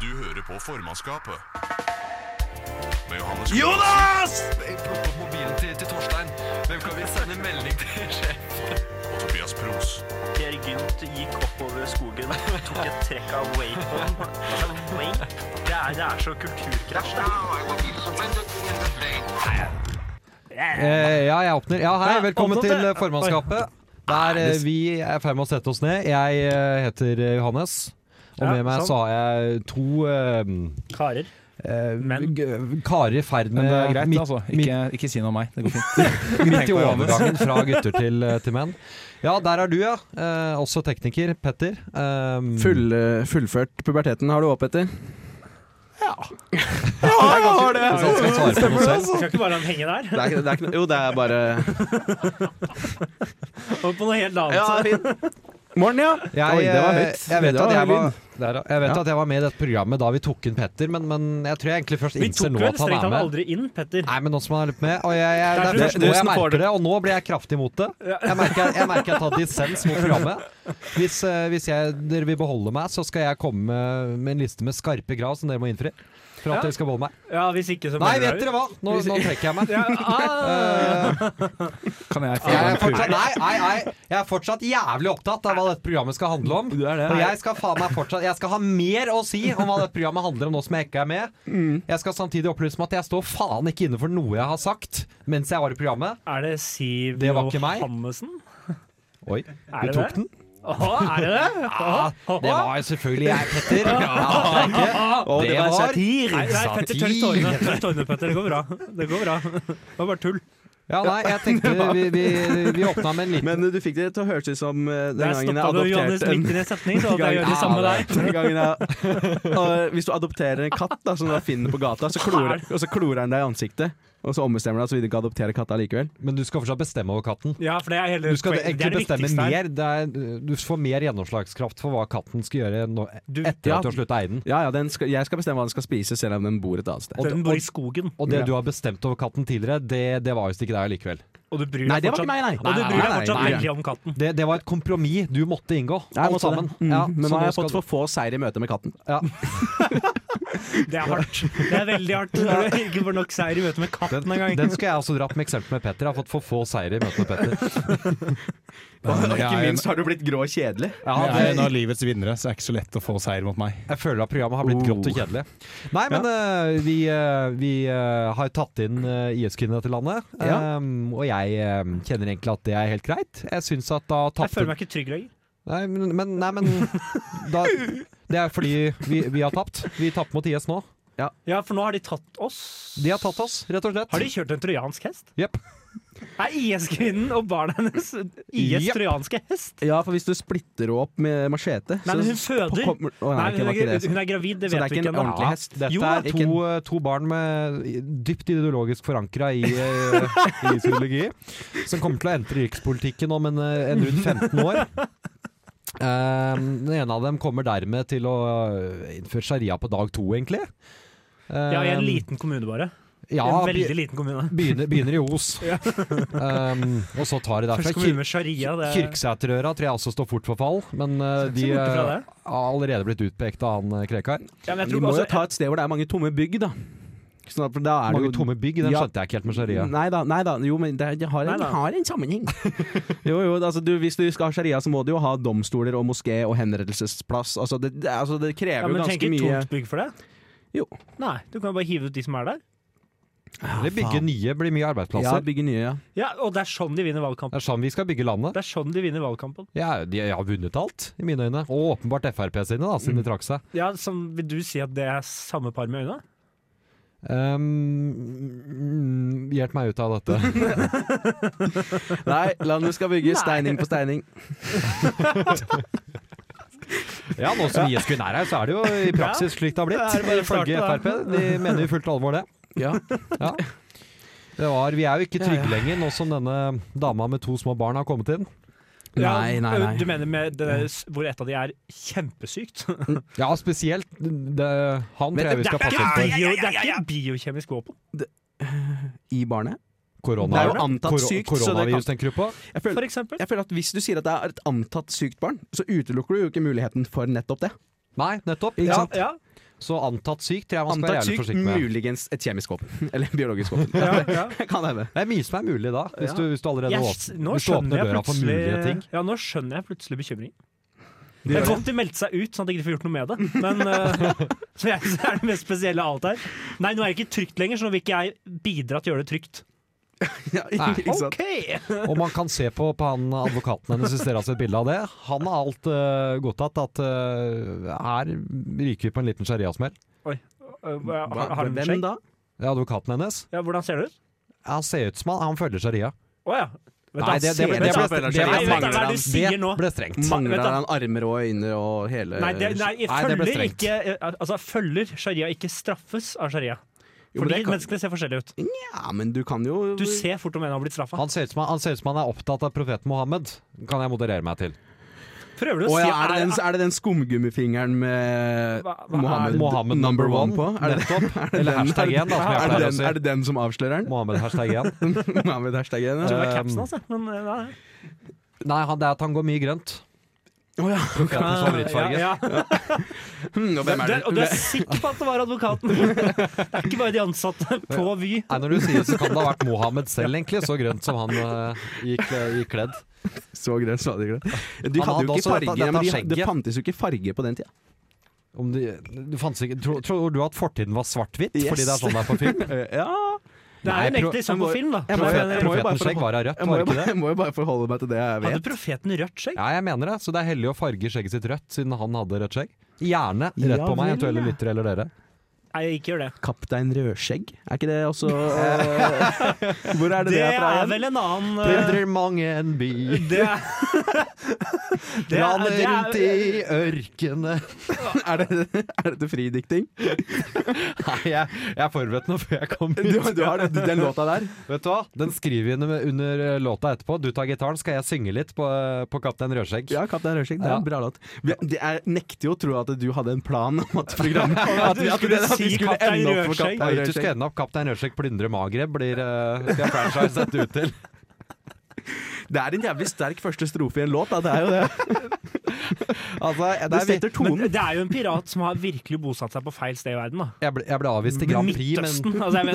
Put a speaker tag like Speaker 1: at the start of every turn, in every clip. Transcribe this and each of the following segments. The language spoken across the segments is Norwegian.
Speaker 1: Du hører på formannskapet. Med Johannes
Speaker 2: Jonas!
Speaker 3: plukke opp mobilen til, til Torstein. Hvem kan vi sende melding til sjef?
Speaker 1: og Tobias Pros.
Speaker 2: Per Gynt gikk oppover skogen, tok et trekk av wapen. Altså, wake? Det er, det er så kulturkrasj, det.
Speaker 4: Eh, ja, jeg åpner. Ja, hei,
Speaker 5: Ja,
Speaker 4: velkommen
Speaker 5: åpnet
Speaker 4: til
Speaker 5: det.
Speaker 4: eh, formannskapet. Der eh, vi er i ferd med å sette oss ned. Jeg eh, heter eh, Johannes. Og
Speaker 5: Ja,
Speaker 4: med meg
Speaker 5: sant.
Speaker 4: så har jeg to eh,
Speaker 5: Karer.
Speaker 4: eh,
Speaker 5: Men.
Speaker 4: g- karer i ferd
Speaker 6: Men
Speaker 4: med
Speaker 6: det er greit,
Speaker 4: midt,
Speaker 6: altså.
Speaker 4: midt,
Speaker 6: Ikke, ikke si noe om meg. Det går fint.
Speaker 4: midt i overgangen fra gutter til, eh, til menn. Ja, der er du, ja. Eh, også tekniker. Petter. Um,
Speaker 7: Full, eh, fullført puberteten har du opp etter?
Speaker 4: Hvis han sånn skal svare på noe selv.
Speaker 5: Skal ikke bare la den henge der.
Speaker 7: Det er, ikke- det er ikke, noe- jo, det er bare
Speaker 5: Og på noe helt annet.
Speaker 7: Morgen, ja.
Speaker 4: Jeg,
Speaker 7: Oi, det var
Speaker 4: eh,
Speaker 7: høyt.
Speaker 4: jeg vet,
Speaker 7: Det var
Speaker 4: at jeg,
Speaker 7: høy
Speaker 4: var,
Speaker 7: lyd.
Speaker 4: der, ja. jeg vet
Speaker 7: Ja.
Speaker 4: at jeg var med i dette programmet da vi tok inn Petter, men, men jeg tror jeg egentlig først
Speaker 5: Vi
Speaker 4: innser
Speaker 5: tok
Speaker 4: nå
Speaker 5: vel
Speaker 4: at han
Speaker 5: strengt
Speaker 4: er
Speaker 5: tatt
Speaker 4: med.
Speaker 5: aldri inn, Petter.
Speaker 4: Nei, men nå som han er litt med og jeg, jeg, Det er
Speaker 5: Det er
Speaker 4: først
Speaker 5: du
Speaker 4: nå jeg
Speaker 5: som får
Speaker 4: merker det, og nå blir jeg kraftig imot det.
Speaker 5: Ja.
Speaker 4: Jeg merker jeg, merker jeg tar dissens mot programmet. Hvis, eh, hvis jeg, dere vil beholde meg, så skal jeg komme med, med en liste med skarpe krav som dere må innfri. For at
Speaker 5: Ja.
Speaker 4: dere skal beholde meg.
Speaker 5: Ja, hvis ikke så
Speaker 4: Nei, vet
Speaker 5: melder jeg ut.
Speaker 4: dere hva? Nå, nå trekker jeg meg.
Speaker 5: Ja, ah.
Speaker 4: Eh,
Speaker 6: Kan jeg få
Speaker 4: jeg, er
Speaker 6: en purre?
Speaker 4: fortsatt, nei, nei, nei, jeg er fortsatt jævlig opptatt av hva dette programmet skal handle om.
Speaker 6: Du er det.
Speaker 4: Og jeg skal faen meg fortsatt Jeg skal ha mer å si om hva dette programmet handler om nå som jeg ikke er med. Jeg skal samtidig opplyse om at jeg står faen ikke inne for noe jeg har sagt mens jeg var i programmet.
Speaker 5: Er det Siv
Speaker 4: Det var ikke meg.
Speaker 5: Johannessen?
Speaker 4: Oi, du
Speaker 5: Er det
Speaker 4: tok
Speaker 5: det?
Speaker 4: den?
Speaker 5: Åh, er det det? Åh, åh.
Speaker 4: Ah, Det var selvfølgelig jeg, Petter. Ja, det er ikke.
Speaker 7: Og det
Speaker 4: Det
Speaker 7: var
Speaker 4: var
Speaker 7: satir.
Speaker 5: Nei, nei, Petter, tørk tårene, tørk tårene, Petter. Det går bra. Det går bra. Det var bare tull.
Speaker 4: Ja, nei, jeg tenkte vi, vi, vi åpna med en liten
Speaker 7: Men eh, du fikk det til å høres ut som eh, den
Speaker 5: Der
Speaker 7: gangen jeg
Speaker 5: stoppa du Johannes
Speaker 7: adopterte en
Speaker 5: midt i en setning, så jeg gjør det
Speaker 4: Ja,
Speaker 5: samme
Speaker 4: det-
Speaker 5: der.
Speaker 7: den gangen jeg, og eh, hvis du adopterer en katt da, som du finner på gata, så klorer, og så klorer den deg i ansiktet. Og så ombestemmer du deg så vil du ikke adoptere katta likevel.
Speaker 4: Men du skal fortsatt bestemme over katten.
Speaker 5: Ja, for det er hele
Speaker 4: Du skal
Speaker 5: poenget. Det
Speaker 4: egentlig
Speaker 5: er det
Speaker 4: bestemme
Speaker 5: viktigste her.
Speaker 4: mer. Det er, du får mer gjennomslagskraft for hva katten skal gjøre nå,
Speaker 5: Du-
Speaker 4: etter
Speaker 7: ja.
Speaker 4: at du har slutta å eie den.
Speaker 7: Ja, ja, den skal, Jeg skal bestemme hva den skal spise, selv om den bor et annet sted.
Speaker 4: Og-
Speaker 5: Den bor i skogen,
Speaker 4: Og det
Speaker 7: Ja.
Speaker 4: du har bestemt over katten tidligere, det, det var visst ikke deg likevel.
Speaker 5: og du bryr
Speaker 7: Nei,
Speaker 5: deg
Speaker 7: det var ikke
Speaker 5: fortsatt,
Speaker 7: meg, nei.
Speaker 5: og du
Speaker 4: Nei, nei,
Speaker 5: bryr deg
Speaker 7: nei,
Speaker 5: fortsatt
Speaker 7: nei, nei.
Speaker 5: veldig om katten.
Speaker 4: Det, det var et kompromiss du måtte inngå,
Speaker 7: Jeg
Speaker 4: alt
Speaker 7: måtte det.
Speaker 4: sammen.
Speaker 7: Mm,
Speaker 4: Ja,
Speaker 7: men
Speaker 4: så
Speaker 7: nå har jeg
Speaker 4: skal
Speaker 7: fått
Speaker 4: du-
Speaker 7: for få seier i møte med katten.
Speaker 4: ja.
Speaker 5: Det er hardt. Det er veldig hardt når du ikke får nok seier i møte med katten
Speaker 4: den,
Speaker 5: engang.
Speaker 4: den skulle jeg også dratt med eksempel med Petter. Jeg har fått for få seire i møte med Petter.
Speaker 7: Og
Speaker 6: jeg
Speaker 7: ikke
Speaker 6: er-
Speaker 7: minst har du blitt grå og kjedelig.
Speaker 4: Ja,
Speaker 6: Jeg er en
Speaker 4: det,
Speaker 6: av livets vinnere, så det er ikke så lett å få seier mot meg.
Speaker 4: jeg føler at programmet har blitt grått og kjedelig. Nei, men eh, vi, eh, vi eh, har tatt inn eh, IS-kvinnene til landet.
Speaker 7: Ja.
Speaker 4: ehm, og jeg eh, kjenner egentlig at det er helt greit. Jeg syns at da
Speaker 5: Jeg
Speaker 4: tapte
Speaker 5: føler meg ikke trygg lenger.
Speaker 4: Nei, men, men, nei, men da, Det er fordi vi, vi har tapt. Vi tapte mot IS nå.
Speaker 5: Ja, for nå har de tatt oss.
Speaker 4: De har tatt oss, rett og slett.
Speaker 5: Har de kjørt en trojansk hest?
Speaker 4: Jepp.
Speaker 5: Er IS-kvinnen og barna hennes IS
Speaker 4: Jepp.
Speaker 5: trojanske hest?
Speaker 7: Ja, for hvis du splitter henne opp med machete
Speaker 5: Nei, men hun føder.
Speaker 7: Kommer- Å, nei,
Speaker 5: Nei,
Speaker 7: ikke-
Speaker 5: hun, er,
Speaker 7: var ikke det.
Speaker 5: gra- hun er gravid, det
Speaker 7: Så det
Speaker 5: vet
Speaker 7: er
Speaker 5: vi
Speaker 7: ikke
Speaker 5: ikke
Speaker 7: en
Speaker 5: ennå.
Speaker 7: ordentlig hest?
Speaker 4: Dette
Speaker 5: Jo,
Speaker 4: er
Speaker 7: ikke
Speaker 4: to, to barn med dypt ideologisk forankra i, eh, i ideologi, som kommer til å entre rikspolitikken om en, eh, en rundt 15 år. Eh, den ene av dem kommer dermed til å eh, innføre sharia på dag to, egentlig. Eh,
Speaker 5: Ja, i en liten kommune bare.
Speaker 4: ja,
Speaker 5: en
Speaker 4: be-
Speaker 5: veldig liten kommune.
Speaker 4: begynner, begynner i Os. Um, og så tar de derfra.
Speaker 5: Først kommune med sharia. Det er,
Speaker 4: Kirksæterøra tror jeg også står fort for fall, men eh, de
Speaker 5: borte
Speaker 4: eh,
Speaker 5: fra
Speaker 4: har
Speaker 5: det.
Speaker 4: allerede blitt utpekt av han eh, Krekar.
Speaker 5: ja, men jeg
Speaker 7: Vi
Speaker 5: tror
Speaker 7: må
Speaker 5: også,
Speaker 7: jo ta et sted hvor det er mange tomme bygg, da. Sånn at, for da er det
Speaker 4: Mange
Speaker 7: jo
Speaker 4: tomme bygg, den
Speaker 7: Ja.
Speaker 4: skjønte jeg ikke helt med sharia.
Speaker 7: Nei da, nei da, jo, men det, det har,
Speaker 5: Nei
Speaker 7: en,
Speaker 5: da.
Speaker 7: har en sammenheng. jo, jo, altså, du, hvis du skal ha sharia, så må du jo ha domstoler og moské og henrettelsesplass. Altså, det, det, altså, det
Speaker 5: ja,
Speaker 7: krever jo
Speaker 5: men tenk
Speaker 7: ganske
Speaker 5: ikke
Speaker 7: mye
Speaker 5: tomt bygg for det.
Speaker 7: Jo.
Speaker 5: Nei, du kan jo bare hive ut de som er der. Ah,
Speaker 4: Eller bygge nye blir mye
Speaker 7: Ja,
Speaker 4: arbeidsplasser.
Speaker 7: bygge nye, ja.
Speaker 5: Ja, Og det er sånn de vinner
Speaker 4: Det
Speaker 5: valgkampen.
Speaker 4: er sånn vi skal bygge landet.
Speaker 5: Det er sånn de vinner valgkampen.
Speaker 4: Ja, de har vunnet alt, i mine øyne. Og åpenbart Frp sine, da,
Speaker 5: Mm.
Speaker 4: siden de trakk seg.
Speaker 5: Ja, som, Vil du si at det er samme par med øynene?
Speaker 4: Um, Ehm, mm, hjelp meg ut av dette.
Speaker 7: Nei, landet skal bygges steining på steining.
Speaker 4: Ja, nå som IS kun er her, så er det jo i praksis slik det har
Speaker 5: Ja, er det
Speaker 4: blitt.
Speaker 5: bare å
Speaker 4: Ifølge
Speaker 5: starte,
Speaker 4: Frp.
Speaker 5: da?
Speaker 4: De mener jo fullt alvor det.
Speaker 7: Ja.
Speaker 4: Ja. Det var, vi er jo ikke trygge lenger, nå som denne dama med to små barn har kommet inn.
Speaker 7: Nei, nei, nei.
Speaker 5: Du mener med det der, s- hvor et av de er kjempesykt?
Speaker 4: Ja, spesielt det, han tror jeg vi
Speaker 5: det,
Speaker 4: skal
Speaker 5: er
Speaker 4: passe
Speaker 5: ikke
Speaker 4: oss for.
Speaker 5: bio, det er ikke biokjemisk våpen.
Speaker 7: I barnet.
Speaker 4: Korona,
Speaker 7: Det er jo antatt
Speaker 4: koro-
Speaker 7: sykt, så det
Speaker 4: Koronavirus, tenker du på?
Speaker 7: Jeg føler,
Speaker 5: For eksempel.
Speaker 7: jeg føler at Hvis du sier at det er et antatt sykt barn, så utelukker du jo ikke muligheten for nettopp det.
Speaker 4: Nei, nettopp.
Speaker 7: Ikke
Speaker 4: Ja.
Speaker 7: sant?
Speaker 5: Ja,
Speaker 4: Så antatt syk tror jeg man skal
Speaker 7: Antatt
Speaker 4: være jævlig
Speaker 7: syk,
Speaker 4: forsiktig med.
Speaker 7: muligens et kjemisk våpen. Eller en biologisk våpen.
Speaker 5: Ja, ja.
Speaker 7: Kan hende.
Speaker 4: Det er mye som er mulig da, hvis,
Speaker 5: Ja.
Speaker 4: du, hvis du allerede
Speaker 5: Jeg-
Speaker 4: åpner,
Speaker 5: nå
Speaker 4: hvis du
Speaker 5: skjønner
Speaker 4: åpner
Speaker 5: jeg
Speaker 4: døra for mulige
Speaker 5: plutselig-
Speaker 4: ting.
Speaker 5: Ja, nå skjønner jeg plutselig bekymring.
Speaker 7: De
Speaker 5: Det er
Speaker 7: gjør
Speaker 5: godt de meldte seg ut, sånn at de ikke får gjort noe med det. Men eh, så jeg, så er det mest spesielle av alt her. Nei, nå er det ikke trygt lenger, så nå vil ikke jeg bidra til å gjøre det trygt.
Speaker 7: Ja,
Speaker 4: Nei.
Speaker 7: ikke sant?
Speaker 5: Ok!
Speaker 4: Og man kan se på, på han advokaten hennes hvis dere har sett bilde av det. Han har alt eh, godtatt at eh, her ryker vi på en liten sharia-smell.
Speaker 5: Uh, har, har de
Speaker 7: Hvem
Speaker 5: skjegg?
Speaker 7: da?
Speaker 4: Det er advokaten hennes.
Speaker 5: Ja, hvordan ser det ut?
Speaker 4: Han ser ut som han, han følger sharia.
Speaker 5: Å ja. Vent,
Speaker 4: Nei,
Speaker 5: da,
Speaker 4: det, det,
Speaker 5: ser
Speaker 4: ble- det, ble,
Speaker 5: ut som-
Speaker 7: han
Speaker 4: det,
Speaker 7: følger
Speaker 4: ble,
Speaker 7: sharia.
Speaker 5: Nei, vet du hva
Speaker 4: det,
Speaker 5: du sier nå?
Speaker 4: ble strengt.
Speaker 5: Vet
Speaker 7: Mangler
Speaker 5: du-
Speaker 7: han armer og øyne og hele
Speaker 5: Nei, det, nei, jeg
Speaker 4: Nei, det ble
Speaker 5: følger
Speaker 4: strengt.
Speaker 5: ikke eh, Altså, følger sharia ikke straffes av sharia?
Speaker 7: Jo, men
Speaker 5: Fordi
Speaker 7: det kan- Mm.
Speaker 5: menneskene ser forskjellige ut.
Speaker 7: Ja, men du kan jo
Speaker 5: Du ser fort om en har blitt straffa.
Speaker 4: Han ser, ut som han, han ser ut som han er opptatt av profeten Mohammed, kan jeg moderere meg til.
Speaker 5: Prøver du å
Speaker 7: Å
Speaker 5: si
Speaker 7: ja, er det den, er det den skumgummifingeren
Speaker 5: Hva-
Speaker 7: med
Speaker 5: hva er-
Speaker 7: Mohammed,
Speaker 4: Mohammed
Speaker 7: number one på? Er det,
Speaker 4: Nettopp. Eller hashtag 1, da, som jeg pleier
Speaker 7: er, det
Speaker 4: å
Speaker 7: den, er
Speaker 4: si.
Speaker 7: det den som avslører den?
Speaker 4: Mohammed hashtag 1.
Speaker 7: Mohammed hashtag igjen,
Speaker 5: Det
Speaker 7: ja.
Speaker 5: var
Speaker 4: eh,
Speaker 5: capsen, altså. Men, eh, nei.
Speaker 4: Nei, han, det er at han går mye grønt.
Speaker 7: Å ja.
Speaker 4: Profetens favorittfarge.
Speaker 5: Ja, ja.
Speaker 7: Hmm, og hvem er
Speaker 5: Du
Speaker 7: det?
Speaker 5: er- Og du er sikker på at det var advokaten? Det er ikke bare de ansatte på Vy.
Speaker 4: Nei, når du sier det, så kan det ha vært Mohammed selv, egentlig. Så grønt som han eh, gikk, gikk kledd.
Speaker 7: Så grønn, sa de grønn. De
Speaker 4: Han
Speaker 7: hadde
Speaker 4: hadde
Speaker 7: jo
Speaker 4: også
Speaker 7: ikke
Speaker 4: dette-
Speaker 7: farge,
Speaker 4: dette
Speaker 7: men de,
Speaker 4: skjegget.
Speaker 7: det fantes jo ikke farge på den tida.
Speaker 4: Om de, du fant sikkert, tror, tror du at fortiden var svart-hvitt?
Speaker 7: Yes.
Speaker 4: Fordi det er sånn det er på film?
Speaker 7: Ja,
Speaker 5: Det er jo en
Speaker 4: Nei, pro-
Speaker 5: ekte sånn på film, da.
Speaker 7: jeg må-
Speaker 5: Men,
Speaker 7: jeg må-
Speaker 5: eh,
Speaker 7: jo bare
Speaker 4: Profetens skjegg var av rødt,
Speaker 7: jeg må,
Speaker 4: var
Speaker 7: jo
Speaker 4: det ikke
Speaker 7: bare,
Speaker 4: det?
Speaker 7: jeg må jo bare forholde meg til det jeg
Speaker 5: Hadde
Speaker 7: vet.
Speaker 5: profeten rødt skjegg?
Speaker 4: Ja, jeg mener det. Så det er hellig å farge skjegget sitt rødt, siden han hadde rødt skjegg. Gjerne rett
Speaker 7: Ja
Speaker 4: på meg,
Speaker 7: vel,
Speaker 4: eventuelle
Speaker 7: ja.
Speaker 4: lyttere eller dere.
Speaker 5: Nei, ikke gjør det.
Speaker 7: Kaptein Rødskjegg, er ikke det også eh, Hvor er det det,
Speaker 5: Det
Speaker 7: er fra
Speaker 5: er
Speaker 7: igjen?
Speaker 5: vel en annen eh,
Speaker 4: Plyndrer mange en by,
Speaker 5: Det er Det er-
Speaker 4: raner
Speaker 5: det er-
Speaker 4: rundt i ørkenet
Speaker 7: Er det, er det fridikting?
Speaker 4: Nei, jeg, jeg er forberedt nå før jeg kom
Speaker 7: Du,
Speaker 4: ut.
Speaker 7: du har den, den låta der?
Speaker 4: Vet du hva? Den skriver vi under, under låta etterpå. Du tar gitaren, skal jeg synge litt på, på Kaptein Rødskjegg.
Speaker 7: Ja, Kaptein Rødskjegg. Det er en
Speaker 4: Ja.
Speaker 7: bra låt. Vi- det- Jeg nekter jo å tro at du hadde en plan om at programmet At
Speaker 5: du skulle
Speaker 7: at vi
Speaker 5: si
Speaker 7: skulle
Speaker 5: Kaptein
Speaker 7: ende opp på
Speaker 5: Rødskjegg.
Speaker 4: Jeg vet
Speaker 7: Kaptein
Speaker 4: du skal
Speaker 7: Rødskjegg.
Speaker 4: ende opp Kaptein Rødskjegg plyndre Magreb, blir, eh, skal jeg franchise dette ut til.
Speaker 7: Det er en jævlig sterk første strofe i en låt, da. Det er jo det.
Speaker 4: Altså,
Speaker 7: Du
Speaker 4: det er,
Speaker 5: Men
Speaker 7: setter tonen.
Speaker 5: det er jo en pirat som har virkelig bosatt seg på feil sted i verden. da
Speaker 4: jeg, ble, jeg ble avvist i Grand Prix, men
Speaker 5: Midtøsten, altså. Jeg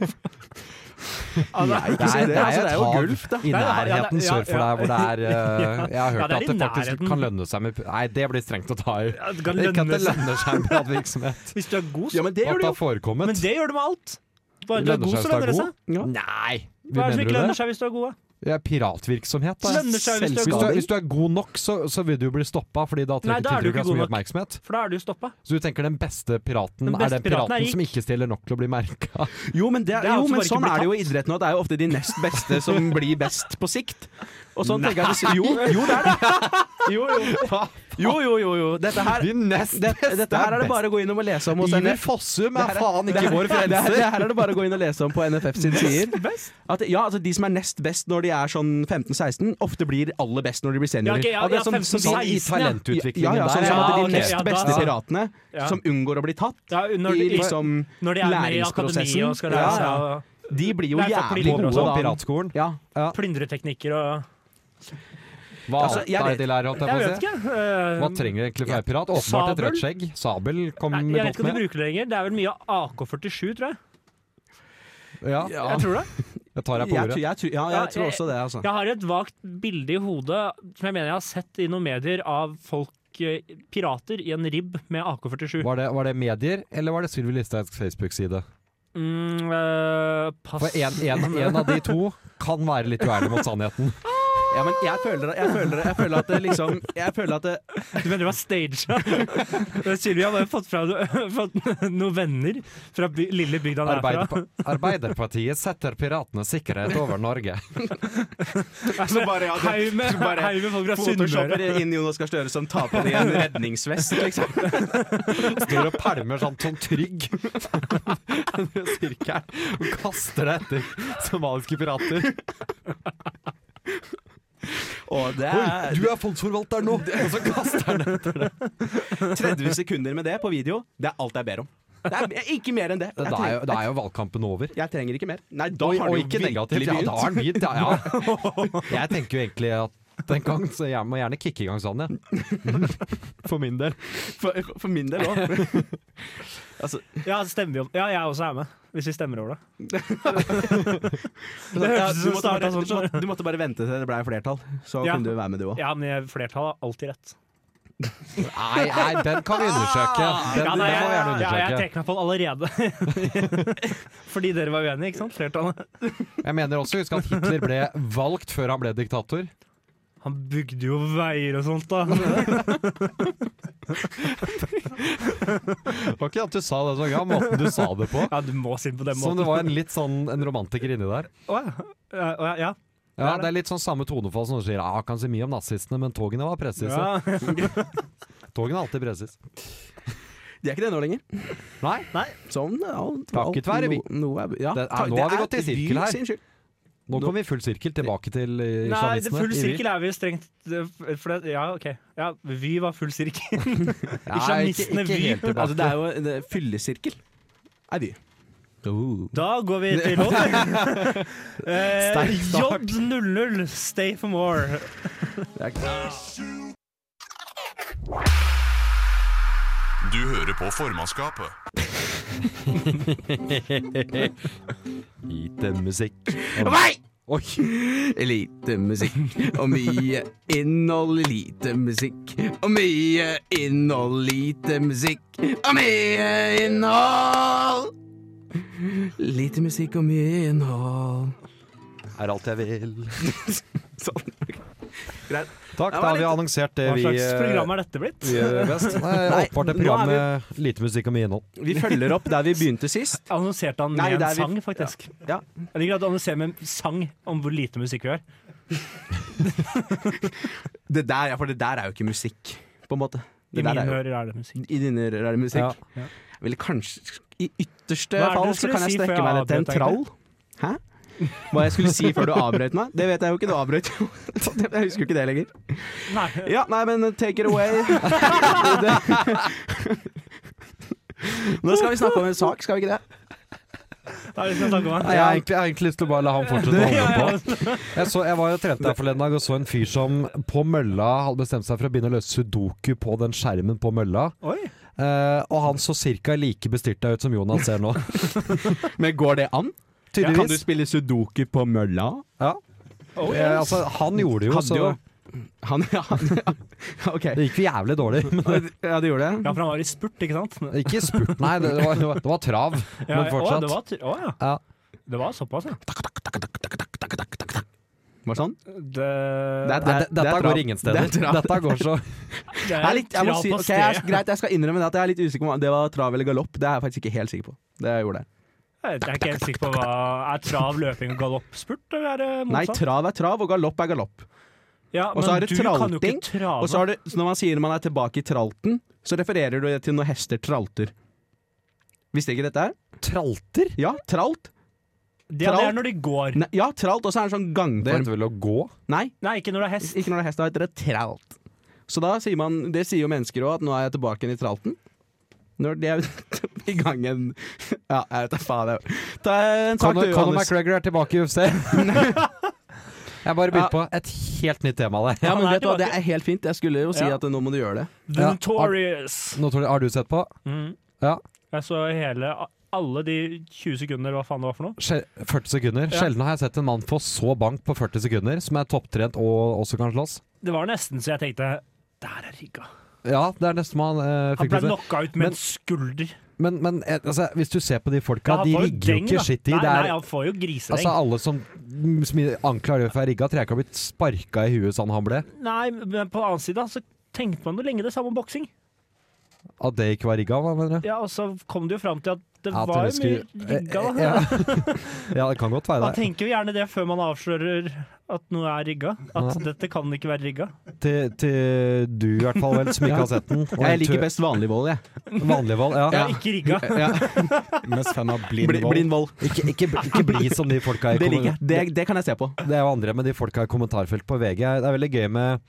Speaker 5: mener. altså,
Speaker 4: det er, det er,
Speaker 7: altså, det er jo
Speaker 4: et hav
Speaker 7: gulf, da.
Speaker 4: i
Speaker 5: er- ja, det er-
Speaker 4: nærheten
Speaker 5: ja,
Speaker 4: sør for
Speaker 5: ja.
Speaker 4: deg hvor det er eh, Jeg har hørt
Speaker 5: Ja, det er
Speaker 4: at
Speaker 5: i
Speaker 4: det faktisk
Speaker 5: nærheten.
Speaker 4: kan lønne seg med Nei, det blir strengt å ta i.
Speaker 5: Ja, det kan
Speaker 4: Ikke at
Speaker 5: lønne
Speaker 4: det
Speaker 5: seg.
Speaker 4: lønner seg med privatvirksomhet.
Speaker 5: Hvis du er god, så
Speaker 7: Ja, men det
Speaker 4: At
Speaker 7: gjør
Speaker 4: det
Speaker 7: det
Speaker 4: har
Speaker 7: jo.
Speaker 4: forekommet.
Speaker 5: Men det gjør du med alt. Bare du
Speaker 4: Lønner
Speaker 5: er god,
Speaker 4: seg hvis
Speaker 5: så
Speaker 4: du er
Speaker 5: lønner det
Speaker 4: god.
Speaker 5: seg.
Speaker 7: Ja.
Speaker 4: Nei!
Speaker 5: Hva er det
Speaker 4: mener
Speaker 5: som
Speaker 4: du
Speaker 5: ikke lønner
Speaker 4: det?
Speaker 5: seg hvis du er god? da?
Speaker 4: Ja, piratvirksomhet, da.
Speaker 5: Lønner seg hvis du er
Speaker 4: Hvis du,
Speaker 5: god.
Speaker 4: er, hvis du er god nok, så, så vil du jo bli stoppa, fordi da trekker
Speaker 5: Nei, da er du
Speaker 4: tiltrekker
Speaker 5: ikke
Speaker 4: deg så
Speaker 5: god
Speaker 4: mye
Speaker 5: nok.
Speaker 4: oppmerksomhet.
Speaker 5: For da er du stoppa.
Speaker 4: Så du tenker den beste piraten
Speaker 5: Den beste
Speaker 4: er den
Speaker 5: piraten er
Speaker 4: piraten
Speaker 5: rik.
Speaker 4: som ikke stiller nok til å bli merka?
Speaker 7: Jo, men, det,
Speaker 5: Det er altså
Speaker 7: jo, men
Speaker 5: bare ikke
Speaker 7: sånn
Speaker 5: blitt
Speaker 7: er det jo i idretten nå. at Det er jo ofte de nest beste som blir best på sikt. Og sånn tenker jeg at- Jo, jo, det er det. Jo, jo. Jo, jo, jo. jo. Dette her
Speaker 4: De nest
Speaker 7: dette, dette her er det bare å gå inn og lese om hos
Speaker 4: Iver
Speaker 7: NF.
Speaker 4: Fossum er
Speaker 7: her er-
Speaker 4: faen ikke vår
Speaker 7: Det her,
Speaker 4: frelser!
Speaker 7: det her er det bare å gå inn og lese om på NFF sin sider. At, ja, altså De som er nest best når de er sånn 15-16, ofte blir aller best når de blir
Speaker 5: Ja,
Speaker 7: seniorer.
Speaker 5: ok, ja,
Speaker 7: At det er
Speaker 5: ja,
Speaker 7: sånn-
Speaker 5: 15-16,
Speaker 7: sånn-
Speaker 4: Sånn i
Speaker 7: ja,
Speaker 4: talentutviklingen
Speaker 7: ja, sånn,
Speaker 4: der.
Speaker 7: som
Speaker 5: Ja,
Speaker 7: at de
Speaker 5: ok,
Speaker 7: nest
Speaker 5: ja, da-
Speaker 7: beste piratene,
Speaker 5: Ja.
Speaker 7: som unngår å bli tatt
Speaker 5: Ja, når,
Speaker 7: i
Speaker 5: de,
Speaker 7: liksom
Speaker 5: når de er med i akademi og skal lære
Speaker 7: ja,
Speaker 5: seg å
Speaker 7: De blir jo
Speaker 5: Lære seg
Speaker 7: jævlig
Speaker 5: politikere og
Speaker 7: gode
Speaker 4: På
Speaker 7: da.
Speaker 4: piratskolen.
Speaker 7: Ja.
Speaker 5: plyndre teknikker og
Speaker 4: Hva
Speaker 7: Altså,
Speaker 4: annet
Speaker 7: jeg
Speaker 4: er
Speaker 7: vet-
Speaker 4: det de lærer? holdt
Speaker 5: Jeg
Speaker 4: Jeg
Speaker 5: vet
Speaker 4: på å si?
Speaker 5: ikke.
Speaker 4: Hva
Speaker 5: eh,
Speaker 4: trenger egentlig for å være pirat? Åpenbart et
Speaker 5: Sabel?
Speaker 4: rødt skjegg. Sabel kom
Speaker 5: Nei, jeg
Speaker 4: godt
Speaker 5: vet ikke om de
Speaker 4: med.
Speaker 5: bruker det lenger. Det er vel mye AK-47, tror jeg.
Speaker 4: Ja,
Speaker 7: Ja.
Speaker 5: Jeg tror det.
Speaker 4: jeg tar deg på
Speaker 7: Jeg, tror-
Speaker 4: ordet.
Speaker 7: jeg, tror- ja,
Speaker 5: Ja,
Speaker 7: jeg tror
Speaker 5: jeg-
Speaker 7: også det, altså.
Speaker 5: Jeg har et vagt bilde i hodet som jeg mener jeg har sett i noen medier av folk, eh, pirater, i en ribb med AK-47.
Speaker 4: Var det, var det medier, eller var det Sylvi Listhaugs Facebook-side?
Speaker 5: Mm, eh, pass.
Speaker 4: For en, en, en av de to kan være litt uærlig mot sannheten.
Speaker 7: Ja, men jeg føler, jeg føler, jeg føler at det liksom Jeg føler at det
Speaker 5: Du mener det var staged? Sylvi har bare fått, fra, fått noen venner fra by, lille bygda han er fra.
Speaker 4: Arbeiderpa Arbeiderpartiet setter piratenes sikkerhet over Norge.
Speaker 7: Så Altså, bare, ja, det-
Speaker 5: Hei med,
Speaker 7: så bare-
Speaker 5: hei med folk fra Sunnmøre.
Speaker 7: Photoshopper inn Jonas Gahr Støre som tar på deg en redningsvest, liksom.
Speaker 4: Står og pælmer sånn som trygg sirkelen og kaster det etter somaliske pirater.
Speaker 7: Og det er
Speaker 4: er fondsforvalter nå! Eh, Og så kaster han
Speaker 7: 30 sekunder med det på video. Det er alt jeg ber om. Det er ikke mer enn det.
Speaker 4: Da
Speaker 7: Jeg
Speaker 4: er jo,
Speaker 7: trenger,
Speaker 4: da er jo valgkampen over.
Speaker 7: jeg trenger ikke mer. Nei, da
Speaker 4: Oi,
Speaker 7: har
Speaker 4: og
Speaker 7: det jo
Speaker 4: ikke
Speaker 7: virkelig
Speaker 4: negativt. Ja, da
Speaker 7: begynt.
Speaker 4: har han begynt, ja. ja. Jeg tenker jo egentlig at den gang, så jeg må gjerne kicke i gang sånn, jeg.
Speaker 7: For min del. For, for min del òg.
Speaker 5: Ja, stemmer vi om Ja, jeg også er med. Hvis vi stemmer over det.
Speaker 7: Sånn, ja,
Speaker 5: hørtes ut
Speaker 7: du,
Speaker 5: som
Speaker 7: måtte
Speaker 5: starten
Speaker 7: bare,
Speaker 5: sånn,
Speaker 7: du, måtte, du måtte bare vente til det ble flertall, så
Speaker 5: Ja.
Speaker 7: kunne du være med, du òg.
Speaker 5: Ja, men jeg- flertallet har alltid rett.
Speaker 4: Nei, nei, den kan vi undersøke. Den,
Speaker 5: Ja,
Speaker 4: den
Speaker 5: nei,
Speaker 4: må
Speaker 5: Ah, jeg,
Speaker 4: vi gjerne
Speaker 5: ja, jeg
Speaker 4: undersøke.
Speaker 5: trekker meg på den allerede. Fordi dere var uenige, ikke sant? Flertallet.
Speaker 4: Jeg mener også, husk at Hitler ble valgt før han ble diktator.
Speaker 5: Han bygde jo veier og sånt, da.
Speaker 4: Det var ikke at du sa det så gøy, måten du sa det på.
Speaker 5: Ja, du må si det på den
Speaker 4: Som det
Speaker 5: måten.
Speaker 4: var en litt sånn en romantiker inni der.
Speaker 5: Å ja. Ja, å ja. ja.
Speaker 4: Ja, Det er litt sånn samme tonefall som noen sier ah, 'kan si mye om nazistene, men togene var presise'.
Speaker 5: ja.
Speaker 4: Togene er alltid presise.
Speaker 7: De er ikke det nå lenger.
Speaker 4: Nei,
Speaker 5: Nei,
Speaker 7: Sånn, alt,
Speaker 4: Takket være vi.
Speaker 7: No, noe er, ja.
Speaker 4: Det er- nå har vi gått i
Speaker 7: vi
Speaker 4: sirkel her.
Speaker 7: sin skyld.
Speaker 4: nå kom vi i full sirkel tilbake til eh,
Speaker 5: Nei det
Speaker 4: islamistene.
Speaker 5: full sirkel er vi jo strengt eh, for det, Ja, OK. Ja, vi var full sirkel. Islamistene,
Speaker 4: Islamistene,
Speaker 5: vi.
Speaker 4: vi.
Speaker 7: Altså, det er jo en eh, fyllesirkel. Er vi. Oh,
Speaker 5: Da går vi til låt. eh,
Speaker 4: Sterk start.
Speaker 5: J00, Stay for more.
Speaker 1: Du hører på formannskapet.
Speaker 4: Lite musikk.
Speaker 7: Nei!
Speaker 4: Oi!
Speaker 7: Lite musikk og mye innhold. Lite musikk og mye innhold. Lite musikk og mye innhold. Lite musikk og mye innhold.
Speaker 4: Er alt jeg vil.
Speaker 7: Sånn.
Speaker 4: Takk,
Speaker 7: Det var
Speaker 4: da har vi
Speaker 7: litt-
Speaker 4: annonsert det
Speaker 5: Hva
Speaker 4: vi
Speaker 5: slags
Speaker 4: eh,
Speaker 5: program er dette blitt?
Speaker 4: vi gjør best. Nei, Åpenbart et
Speaker 7: nå er
Speaker 4: program
Speaker 7: vi-
Speaker 4: med lite musikk og mye innhold.
Speaker 7: Vi følger opp der vi begynte sist.
Speaker 5: Annonserte han
Speaker 7: Nei,
Speaker 5: med en
Speaker 7: det er vi-
Speaker 5: sang, faktisk.
Speaker 7: Ja.
Speaker 5: Jeg liker at du annonserer med en sang om hvor lite musikk vi har.
Speaker 7: Det der, ja, for det der er jo ikke musikk, på en måte.
Speaker 5: I
Speaker 7: Det der
Speaker 5: mine
Speaker 7: er jo,
Speaker 5: ører er det musikk.
Speaker 7: I dine ører er det musikk.
Speaker 4: Ja.
Speaker 7: Jeg ville kanskje I ytterste
Speaker 5: Hva er det
Speaker 7: fall
Speaker 5: du
Speaker 7: så
Speaker 5: skulle
Speaker 7: kan jeg
Speaker 5: si før
Speaker 7: strekke
Speaker 5: jeg
Speaker 7: meg ned til en
Speaker 5: avbrøt
Speaker 7: trall. Hæ? Hva jeg skulle si før du avbrøt meg? Det vet jeg jo ikke, du avbrøt jo. Jeg husker jo ikke det lenger.
Speaker 5: Nei,
Speaker 7: Ja, nei, men take it away. Nå skal vi snakke om en sak, skal vi ikke det?
Speaker 5: det er det som jeg snakker om.
Speaker 4: Nei, jeg, har egentlig, jeg har egentlig lyst til å bare la han fortsette å holde på.
Speaker 5: Ja, ja.
Speaker 4: Jeg, så, jeg var jo og trente her forleden dag og så en fyr som på mølla hadde bestemt seg for å begynne å løse sudoku på den skjermen på mølla.
Speaker 5: Oi.
Speaker 4: Eh, og han så ca. like bestyrta ut som Jonas ser nå.
Speaker 7: Men går det an? Kan du
Speaker 4: Tydeligvis.
Speaker 7: spille sudoku på mølla?
Speaker 4: Ja.
Speaker 5: Oh,
Speaker 4: Eh, altså, han gjorde det jo,
Speaker 7: Hadde
Speaker 4: så
Speaker 7: jo Han ja, ja. OK.
Speaker 4: det gikk jo jævlig dårlig. Men
Speaker 7: Ja, det gjorde det.
Speaker 5: Ja, for han var i spurt, ikke sant? Ja,
Speaker 4: ikke spurt, nei. Det var, det var- det var trav. Men
Speaker 5: å, det
Speaker 4: fortsatt.
Speaker 5: var, ty- å, ja.
Speaker 4: Ja.
Speaker 5: Det var såpass, ja.
Speaker 7: Var det sånn?
Speaker 5: Det,
Speaker 7: Det er-
Speaker 4: Nei, det-
Speaker 7: det er
Speaker 4: Dette
Speaker 7: trav.
Speaker 4: går ingen steder.
Speaker 7: Det er trav.
Speaker 4: Dette går så
Speaker 5: det
Speaker 7: Jeg er litt, jeg må
Speaker 5: krav
Speaker 7: si,
Speaker 5: på
Speaker 7: ok, jeg er,
Speaker 5: stedet.
Speaker 7: greit, jeg skal innrømme det at jeg er litt usikker på om det var trav eller galopp. Det er jeg faktisk ikke helt sikker på. Det jeg gjorde det.
Speaker 5: Jeg er ikke helt sikker på hva Er trav, løping og galopp spurt, eller er det
Speaker 7: Nei,
Speaker 5: motsatt?
Speaker 7: trav er trav, og galopp er galopp.
Speaker 5: ja,
Speaker 7: og så
Speaker 5: men
Speaker 7: er det
Speaker 5: du kan jo
Speaker 7: tralting,
Speaker 5: ikke trave.
Speaker 7: Og så har du, så når man sier man er tilbake i tralten, så refererer du til når hester tralter. Visste ikke dette her?
Speaker 4: Tralter?
Speaker 7: Ja, tralt.
Speaker 5: det, det
Speaker 7: tralt.
Speaker 5: er når de går.
Speaker 7: Nei, ja, tralt, og så er det en sånn
Speaker 4: Det
Speaker 7: gangform.
Speaker 4: heter vel å gå?
Speaker 7: Nei,
Speaker 5: Nei, ikke når det er hest.
Speaker 7: ikke når det er hest, da heter det tralt. Så da sier man, det sier jo mennesker òg, at nå er jeg tilbake igjen i tralten. Når de er i gang igjen Ja, jeg vet da faen. jeg. Ta en sak,
Speaker 4: Conor Conor
Speaker 7: du, Johannes.
Speaker 4: McGregor er tilbake i UFC. Jeg bare
Speaker 7: Ja.
Speaker 4: begynte på et helt nytt tema der.
Speaker 7: Ja, men
Speaker 5: Han er
Speaker 7: vet du hva, Det
Speaker 5: tilbake.
Speaker 7: er helt fint. Jeg skulle jo si
Speaker 5: Ja.
Speaker 7: at nå må du gjøre det.
Speaker 5: The
Speaker 4: Ja.
Speaker 5: Notorious.
Speaker 4: Nå tror jeg, har du sett på?
Speaker 5: Mm.
Speaker 4: Ja.
Speaker 5: Jeg så hele Alle de 20 sekunder, hva faen det var for noe.
Speaker 4: Sjel 40 sekunder.
Speaker 5: Ja.
Speaker 4: Sjelden har jeg sett en mann få så bank på 40 sekunder, som er topptrent og også kan slåss.
Speaker 5: Det var nesten så jeg tenkte Der er rigga.
Speaker 4: Ja, det er nesten man eh,
Speaker 5: Han
Speaker 4: fikk
Speaker 5: ble
Speaker 4: det til.
Speaker 5: knocka ut
Speaker 4: Men-
Speaker 5: med en skulder.
Speaker 4: Men, men eh, altså, hvis du ser på de folka,
Speaker 5: Ja, han
Speaker 4: de
Speaker 5: får jo
Speaker 4: rigger jo
Speaker 5: deng, da.
Speaker 4: ikke skitt i.
Speaker 5: Nei,
Speaker 4: Det
Speaker 5: nei,
Speaker 4: er
Speaker 5: han får jo grisedeng.
Speaker 4: altså alle som som anklager for å være rigga, tror jeg ikke har blitt sparka i huet sånn han ble.
Speaker 5: nei, men på den annen side så tenkte man jo lenge det samme om boksing.
Speaker 4: At det ikke var rigga, hva mener du?
Speaker 5: Ja, og så kom det jo fram til at det
Speaker 4: Ja, at
Speaker 5: var
Speaker 4: dere
Speaker 5: jo mye
Speaker 4: skulle-
Speaker 5: rigga.
Speaker 4: Eh, eh,
Speaker 5: da.
Speaker 4: Ja. ja, det kan godt være
Speaker 5: Man
Speaker 4: det.
Speaker 5: tenker jo gjerne det før man avslører at noe er rigga. At dette kan ikke være rigga.
Speaker 4: Til, til du i hvert fall, vel, som ikke har sett den. Og
Speaker 7: Jeg liker
Speaker 4: eventu-
Speaker 7: best vanlig vold, jeg.
Speaker 4: vanlig vold. Ja.
Speaker 5: Ja, ikke rigga.
Speaker 6: Mest fan av blind
Speaker 7: Bli- Blind
Speaker 6: vold.
Speaker 7: vold.
Speaker 4: Ikke, ikke, bli- ikke bli som de folka i
Speaker 7: Det
Speaker 4: kommen-
Speaker 7: liker jeg. Det, det kan jeg se på.
Speaker 4: Det er jo andre med de folka i kommentarfelt på VG. Det er veldig gøy med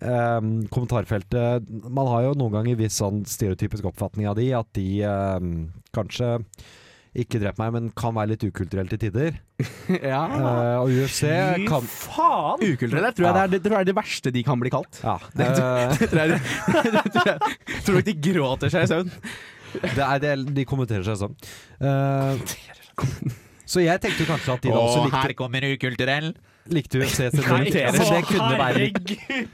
Speaker 4: ehm, kommentarfeltet. Man har jo noen ganger viss sånn stereotypisk oppfatning av de, at de ehm, kanskje ikke drep meg, men kan være litt ukulturell til tider.
Speaker 7: ja.
Speaker 4: Eh, og UFC kan
Speaker 5: faen!
Speaker 7: Ukulturell jeg tror, jeg det er, det tror jeg er det verste de kan bli kalt.
Speaker 4: ja,
Speaker 7: Det
Speaker 4: eh,
Speaker 7: tror jeg, det tror jeg, tror nok de gråter seg i søvn.
Speaker 4: det er det de kommenterer seg sånn. Eh, så jeg tenkte jo kanskje at de da også likte,
Speaker 7: kommer ukulturell.
Speaker 4: likte UFC siden
Speaker 5: Nei,
Speaker 7: kommenterer,
Speaker 4: så det
Speaker 5: å,
Speaker 4: kunne være litt
Speaker 5: herregud.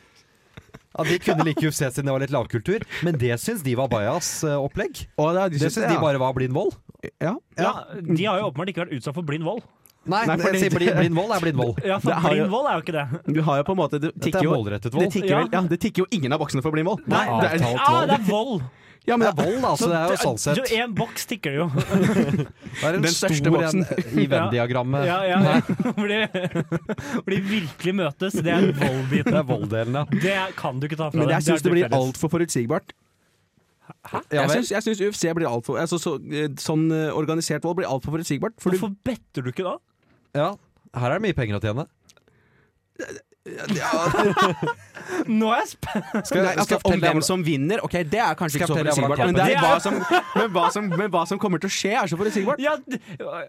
Speaker 4: Ja, De kunne like UFC siden det var litt lavkultur, men det syns de var bajas eh, opplegg.
Speaker 7: Å, ja, de
Speaker 4: Det
Speaker 7: syns
Speaker 4: syns de bare var blind vold.
Speaker 7: ja.
Speaker 5: Ja, de har jo åpenbart ikke vært utsatt for blind vold.
Speaker 4: Nei,
Speaker 7: Nei, fordi-
Speaker 4: jeg sier blind, blind vold er blind vold.
Speaker 5: Ja, for
Speaker 7: Det har jo-
Speaker 5: blind vold er jo ikke det.
Speaker 7: Du har jo på en måte Det
Speaker 4: Dette
Speaker 7: tikker
Speaker 4: er
Speaker 7: jo,
Speaker 4: målrettet
Speaker 7: det
Speaker 4: vold.
Speaker 7: tikker,
Speaker 5: Ja.
Speaker 7: vel, ja, det tikker jo ingen av boksene for blind vold.
Speaker 5: Nei,
Speaker 7: det er,
Speaker 4: Avtalt
Speaker 5: Ah,
Speaker 4: vold.
Speaker 5: det er vold!
Speaker 7: ja, men
Speaker 4: Det er
Speaker 7: det
Speaker 4: vold, altså. Det er jo sånn sett
Speaker 5: Jo, en boks tikker det jo.
Speaker 4: Det er en
Speaker 7: Den største
Speaker 4: stor
Speaker 7: boksen.
Speaker 4: en i Venn-diagrammet.
Speaker 5: Ja, ja, ja. Hvor, de, hvor de virkelig møtes, det er
Speaker 4: Det
Speaker 5: vold-biten.
Speaker 4: er volddelen, ja.
Speaker 5: Det kan du ikke ta fra
Speaker 7: Men
Speaker 5: dem.
Speaker 7: jeg syns det blir
Speaker 5: felles.
Speaker 7: altfor forutsigbart.
Speaker 4: Ja
Speaker 7: Jeg
Speaker 4: vel.
Speaker 7: syns- Jeg syns UFC blir alt for, altså, så, eh, Sånn eh, organisert vold blir altfor forutsigbart. For du,
Speaker 5: Hvorfor better du ikke da?
Speaker 4: ja. Her er det mye penger å tjene.
Speaker 5: Nå er jeg
Speaker 4: Skal,
Speaker 5: spent!
Speaker 7: Nei, altså,
Speaker 4: skal jeg
Speaker 7: om
Speaker 4: fortelle
Speaker 7: hvem
Speaker 4: deg
Speaker 7: som vinner, ok, det er
Speaker 4: Skal
Speaker 7: kanskje ikke
Speaker 4: jeg
Speaker 7: så
Speaker 4: fortelle deg hvordan
Speaker 7: forutsigbart. Men,
Speaker 4: kampen-
Speaker 7: det er
Speaker 5: Det
Speaker 7: hva
Speaker 5: er-
Speaker 7: som, men, hva som, men hva som kommer til å skje, er så forutsigbart.
Speaker 5: Ja, d-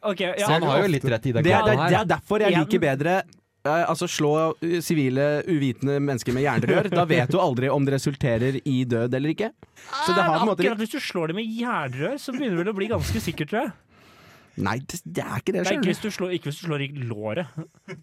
Speaker 5: OK. Ja.
Speaker 4: Han har jo litt rett i den
Speaker 7: Det er, det,
Speaker 4: kampen
Speaker 7: er, det
Speaker 4: her.
Speaker 7: er derfor jeg
Speaker 5: Igjen.
Speaker 7: liker bedre eh, altså slå eh, sivile, uvitende mennesker med jernrør. Da vet du aldri om det resulterer i død eller ikke. Så det har på en måte
Speaker 5: Akkurat hvis du slår det med jernrør, så begynner det vel å bli ganske sikkert, tror jeg.
Speaker 7: Nei, det, det er ikke det
Speaker 5: Nei, ikke hvis
Speaker 7: sjøl.
Speaker 5: du slår, ikke hvis du slår i låret.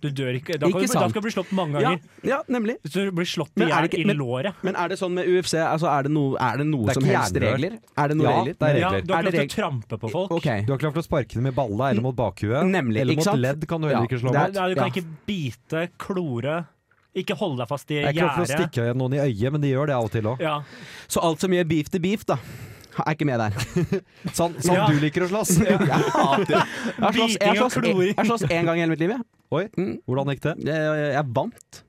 Speaker 5: Du dør ikke. Da,
Speaker 7: Ikke
Speaker 5: kan du, da
Speaker 7: sant.
Speaker 5: skal du bli slått mange
Speaker 7: Ja,
Speaker 5: ganger.
Speaker 7: ja, nemlig.
Speaker 5: Hvis du blir slått i
Speaker 7: Men er
Speaker 5: hjel
Speaker 7: det ikke-
Speaker 5: i
Speaker 7: men-
Speaker 5: låret.
Speaker 7: Men er det sånn med UFC? Altså, er det noe, er det noe
Speaker 4: Det er
Speaker 7: som
Speaker 4: ikke
Speaker 7: helst
Speaker 4: jernrør.
Speaker 7: regler? Er det noen
Speaker 4: Ja,
Speaker 7: regler?
Speaker 4: det er
Speaker 5: Ja, du
Speaker 4: regler.
Speaker 5: har
Speaker 7: Er
Speaker 5: ikke
Speaker 7: det
Speaker 5: lov til å trampe på folk.
Speaker 7: Ok.
Speaker 4: Du har ikke lov til å sparke dem i balla eller mot bakhuet.
Speaker 7: Nemlig,
Speaker 4: eller
Speaker 7: ikke
Speaker 4: mot
Speaker 7: sant?
Speaker 4: ledd kan du
Speaker 7: Ja,
Speaker 4: heller ikke slå
Speaker 7: det er-
Speaker 4: mot.
Speaker 5: Ja, du kan ikke bite, klore, ikke holde deg fast i
Speaker 4: Det er ikke lov til å
Speaker 5: gjerdet.
Speaker 4: stikke noen i øyet, men de gjør det av og til òg.
Speaker 5: Ja.
Speaker 7: Så alt som gjør beef til beef, da, er ikke med der.
Speaker 4: Sånn, sånn
Speaker 5: Ja.
Speaker 4: du liker å slåss.
Speaker 7: Jeg hater det. Jeg slåss- jeg
Speaker 5: Biting og
Speaker 7: slåss- jeg- jeg slåss én gang i hele mitt liv, jeg.
Speaker 4: Oi, hvordan gikk det?
Speaker 7: Jeg, jeg vant.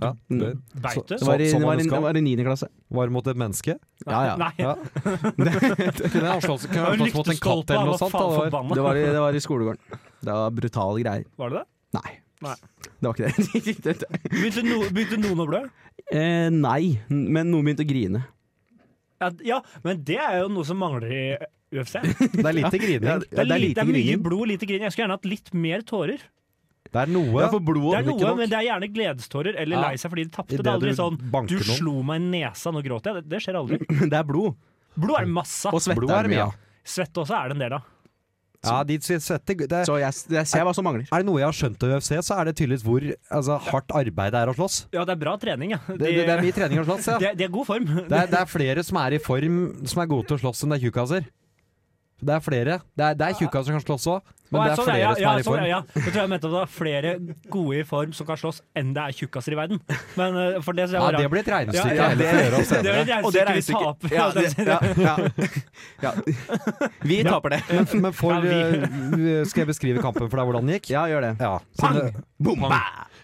Speaker 4: Ja.
Speaker 7: Mm.
Speaker 4: Det
Speaker 5: Beit du? Sånn?
Speaker 7: Det var
Speaker 4: Som
Speaker 7: i, det var
Speaker 4: Sånn- man
Speaker 7: i,
Speaker 4: skal.
Speaker 7: det var i 9. klasse.
Speaker 4: var mot et menneske.
Speaker 7: Ja, ja.
Speaker 5: Nei.
Speaker 4: Ja. Kunne jeg slåss kunne jeg slåss mot en katt eller noe sånt? da? Det var-
Speaker 7: Det var, i, det var i skolegården. Det var brutale greier.
Speaker 5: Var det det?
Speaker 7: Nei.
Speaker 5: Nei.
Speaker 7: Det var ikke det.
Speaker 5: Begynte, no, begynte noen å blø?
Speaker 7: eh, nei, men noen begynte å grine.
Speaker 5: Ja, d- ja, men det er jo noe som mangler i UFC.
Speaker 4: Det er lite
Speaker 7: Ja,
Speaker 4: grining.
Speaker 7: det er
Speaker 5: lite-
Speaker 7: lite
Speaker 5: det er mye
Speaker 7: grining.
Speaker 5: blod, lite grin. Jeg skulle gjerne hatt litt mer tårer.
Speaker 4: Det er
Speaker 7: Ja,
Speaker 4: noe
Speaker 7: for
Speaker 5: Det
Speaker 7: blodet
Speaker 5: er noe, men det er gjerne gledestårer eller
Speaker 4: Ja.
Speaker 5: lei seg fordi de tapte.
Speaker 4: I
Speaker 5: Det er aldri
Speaker 4: det du
Speaker 5: sånn
Speaker 4: banker
Speaker 5: 'du
Speaker 4: noen. Mm.
Speaker 5: slo meg i nesa, nå gråter jeg'. Det, det skjer aldri.
Speaker 7: det er blod.
Speaker 5: Blod er det masse
Speaker 7: Og
Speaker 5: av.
Speaker 7: svette
Speaker 4: Blod
Speaker 7: er
Speaker 4: er
Speaker 7: det mye
Speaker 4: mye.
Speaker 7: av.
Speaker 5: Svett også er det en del av.
Speaker 4: Ja, de svetter det,
Speaker 7: Så jeg, jeg ser hva som mangler.
Speaker 4: Er det noe jeg har skjønt av UFC, så er det tydeligvis hvor altså, hardt arbeid det er å slåss.
Speaker 5: Ja, det er bra trening, ja.
Speaker 4: Det,
Speaker 5: De,
Speaker 4: det, det er mye trening å slåss, ja.
Speaker 5: de- de er god form.
Speaker 4: Det er, det er flere som er i form, som er gode til å slåss, enn det er tjukkaser. Det er flere. Det er, det er tjukkaser som kan slåss òg, men
Speaker 5: Å,
Speaker 4: det er
Speaker 5: sånn,
Speaker 4: flere
Speaker 5: ja,
Speaker 4: som
Speaker 5: ja,
Speaker 4: er i
Speaker 5: sånn,
Speaker 4: form.
Speaker 5: Ja, Jeg tror jeg mente at det var flere gode i form som kan slåss, enn det er tjukkaser i verden. Men eh, for det så
Speaker 4: Ja,
Speaker 5: var
Speaker 4: det blir et
Speaker 5: Ja,
Speaker 4: regnestykke
Speaker 5: ja,
Speaker 4: jeg heller altså. får gjøre opp
Speaker 5: det
Speaker 4: senere.
Speaker 5: var et regnestykke vi taper.
Speaker 7: Ja, det, ja, ja. ja. Vi taper det.
Speaker 4: Men, men for,
Speaker 5: Ja,
Speaker 4: eh, skal jeg beskrive kampen for deg, hvordan den gikk?
Speaker 7: Ja, gjør det.
Speaker 4: Ja. så
Speaker 5: Pang!
Speaker 4: det-
Speaker 7: Boom!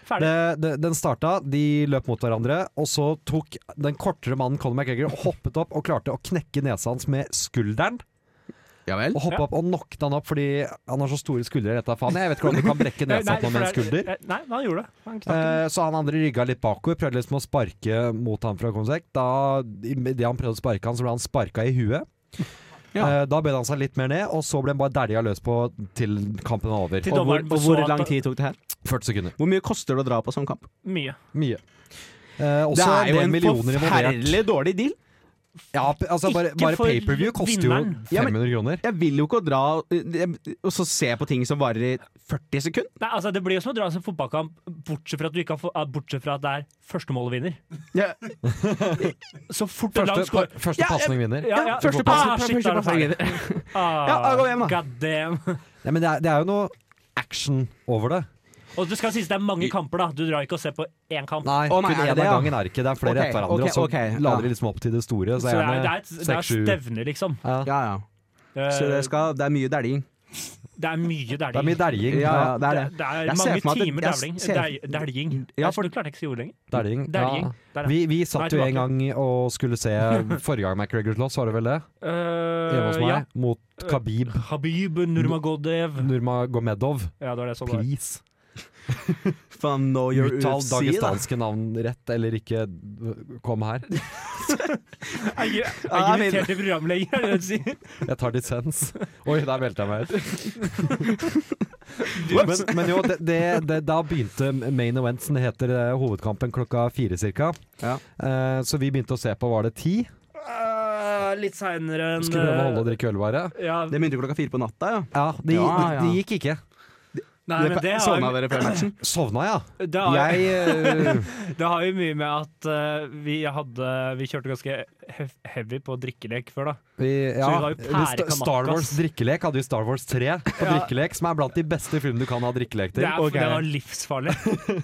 Speaker 5: Ferdig.
Speaker 4: Det, det, den starta, de løp mot hverandre, og så tok den kortere mannen Conor McGregor hoppet opp og klarte å knekke nesa hans med skulderen.
Speaker 7: Ja vel.
Speaker 4: Og hoppe opp og knocket han opp fordi han har så store skuldre. Rett av faen. Jeg vet ikke hvordan du kan brekke nesa på
Speaker 5: for
Speaker 4: noen med en
Speaker 5: det er- eh,
Speaker 4: skulder.
Speaker 5: Nei, men han gjorde det. Han knakk den.
Speaker 4: Eh, så han andre rygga litt bakover, prøvde liksom å sparke mot han fra Comsec. Da Idet han prøvde å sparke han, så ble han sparka i huet.
Speaker 7: Ja.
Speaker 4: Eh, da bøyde han seg litt mer ned, og så ble han bare dælja løs på til kampen var over.
Speaker 5: Til
Speaker 7: Og hvor,
Speaker 5: dommeren
Speaker 7: og hvor
Speaker 5: så at-
Speaker 7: lang tid tok det her?
Speaker 4: 40 sekunder.
Speaker 7: Hvor mye koster det å dra på sånn kamp?
Speaker 5: Mye.
Speaker 4: Mye. Eh, også
Speaker 7: Det er jo
Speaker 4: del
Speaker 7: en
Speaker 4: millioner involvert.
Speaker 7: forferdelig dårlig deal.
Speaker 4: Ja, p- altså bare,
Speaker 5: Ikke
Speaker 4: bare
Speaker 5: for
Speaker 4: pay-per-view koster jo
Speaker 5: vinneren.
Speaker 4: 500 kroner.
Speaker 7: Jeg vil jo ikke å dra eh, og så se på ting som varer i 40 sekunder.
Speaker 5: Nei, altså Det blir jo som å dra en fotballkamp, bortsett fra at, du ikke har, få- ah, bortsett fra at det er første målet vinner.
Speaker 7: Ja,
Speaker 5: Så fort det er
Speaker 4: Første,
Speaker 5: langt skår.
Speaker 4: pa- første
Speaker 7: Ja,
Speaker 4: pasning vinner.
Speaker 5: Ja, ja.
Speaker 7: Første
Speaker 5: Ah,
Speaker 7: pass.
Speaker 5: shit,
Speaker 7: første
Speaker 5: da er det
Speaker 7: pass
Speaker 5: ferdig. Ah,
Speaker 7: Ja, da går vi hjem, da.
Speaker 5: God damn.
Speaker 4: Nei, men det er, det er jo noe action over det.
Speaker 5: Og du skal sies det er mange kamper, da. Du drar ikke og ser på én kamp.
Speaker 4: Nei,
Speaker 7: Å, nei,
Speaker 4: kun
Speaker 7: er det
Speaker 4: én av
Speaker 7: det, ja?
Speaker 4: gangen er det ikke. Det er flere
Speaker 7: Ok,
Speaker 4: etter hverandre,
Speaker 7: ok,
Speaker 4: og så
Speaker 7: ok, ja.
Speaker 4: lader de liksom opp til det store.
Speaker 5: Så
Speaker 4: Så
Speaker 5: det er,
Speaker 4: gjerne
Speaker 5: det er, et, det er
Speaker 4: seks, sju
Speaker 5: stevner, liksom.
Speaker 4: ja.
Speaker 7: Ja, ja.
Speaker 5: Eh,
Speaker 7: Så det, skal, det er mye dæljing.
Speaker 5: Det er mye
Speaker 4: Det er
Speaker 5: dæljing.
Speaker 4: mye dæljing.
Speaker 7: Ja, ja, det er det.
Speaker 5: Det, det er
Speaker 7: Jeg ser for meg at
Speaker 5: mange
Speaker 7: det-
Speaker 5: timer
Speaker 7: jeg
Speaker 5: dævling.
Speaker 7: ser-
Speaker 5: Dæ- Dæljing.
Speaker 7: Ja,
Speaker 5: Jeg
Speaker 7: for-
Speaker 5: for... klarte ikke å si ordet lenger.
Speaker 4: Dæljing.
Speaker 5: Dæljing.
Speaker 4: Ja.
Speaker 5: Der, ja.
Speaker 4: Vi, vi
Speaker 5: Nei,
Speaker 4: satt jo
Speaker 5: tilbake.
Speaker 4: en gang og skulle se forrige gang McGregor slåss, var det vel det?
Speaker 5: Øh,
Speaker 4: Hjemme hos meg.
Speaker 5: ja.
Speaker 7: Øh.
Speaker 4: Mot Khabib
Speaker 5: Habib Nurmagodev.
Speaker 4: Nurmagomedov.
Speaker 5: Ja, det var det jeg så der.
Speaker 4: Please.
Speaker 7: Faen, know your
Speaker 4: Uttal
Speaker 7: UFC, da.
Speaker 4: dagestanske navn rett eller ikke. Kom her.
Speaker 5: Jeg er
Speaker 7: Ja, jeg
Speaker 5: ikke invitert til programlegger, er det det du sier?
Speaker 4: Jeg tar dissens. Oi, der meldte jeg meg ut. Men, men jo, det, det, det, da begynte main event, som det heter, eh, hovedkampen klokka fire cirka.
Speaker 7: Ja.
Speaker 4: Eh, så vi begynte å se på, var det ti?
Speaker 5: Øh, litt seinere enn
Speaker 4: Skulle prøve å holde og drikke ølvare.
Speaker 5: øh, Ja,
Speaker 7: Det begynte klokka fire på natta, ja.
Speaker 4: Ja, det,
Speaker 7: Ja, ja.
Speaker 4: det gikk ikke.
Speaker 5: nei, men det har,
Speaker 7: Sovna dere før matchen?
Speaker 4: Sovna, ja.
Speaker 5: det, har,
Speaker 4: Jeg eh,
Speaker 5: det har jo mye med at øh, vi hadde Vi kjørte ganske hef- heavy på drikkelek før, da.
Speaker 4: vi, ja,
Speaker 5: Så vi var jo pære
Speaker 4: Sta- Star
Speaker 5: kanakkas.
Speaker 4: Wars drikkelek hadde jo Star Wars 3 på
Speaker 5: Ja.
Speaker 4: drikkelek, som er blant de beste filmene du kan ha drikkelek til.
Speaker 5: Det, er,
Speaker 4: Og
Speaker 5: det
Speaker 4: greier.
Speaker 5: var livsfarlig.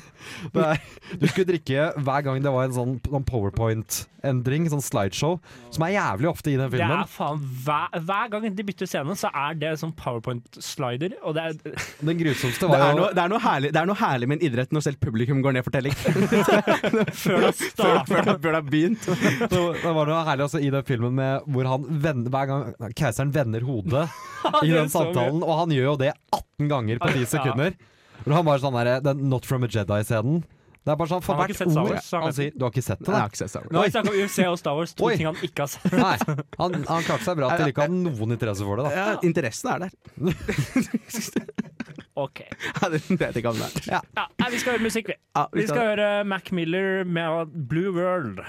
Speaker 4: Det er- Du skulle drikke hver gang det var en sånn sånn powerpoint-endring, sånn slideshow, som er jævlig ofte i den
Speaker 5: Det er
Speaker 4: filmen.
Speaker 5: faen, hver, hver gang de bytter scene, så er det sånn powerpoint-slider. Og det er,
Speaker 4: Den grusomste
Speaker 7: Det
Speaker 4: var
Speaker 7: er,
Speaker 4: jo
Speaker 7: noe, det, er noe herlig, det er noe herlig med en idrett når selv publikum går ned for telling.
Speaker 5: før det
Speaker 7: Før,
Speaker 5: starter
Speaker 7: før, det- før det har begynt.
Speaker 4: det var noe herlig også i den filmen med hvor han vender, hver gang keiseren vender hodet i
Speaker 5: det er
Speaker 4: den
Speaker 5: så
Speaker 4: samtalen, og han gjør jo det 18 ganger på
Speaker 5: Ja.
Speaker 4: 10 sekunder. Hvor han bare sånn der, den Not From A Jedi-scenen. Det er bare sånn, for
Speaker 5: Han har ikke
Speaker 4: hvert
Speaker 5: sett Star
Speaker 4: ord
Speaker 5: Wars, så han
Speaker 4: han
Speaker 5: vet
Speaker 4: sier Du har ikke sett det,
Speaker 7: Nei,
Speaker 4: da?
Speaker 7: jeg har ikke sett Star Wars.
Speaker 5: Nå har vi snakket om UFC og Star Wars, to
Speaker 4: Oi.
Speaker 5: ting han ikke har sett.
Speaker 4: Nei, han, han klarte seg bra til ikke å ha noen interesse for det, da.
Speaker 7: Ja, interessen er der.
Speaker 5: Ok.
Speaker 7: Ja, det det vet jeg ikke om det er. Ja,
Speaker 5: Ja, nei, vi skal høre musikk, vi.
Speaker 7: ja,
Speaker 5: Vi skal høre Mac Miller med Blue World.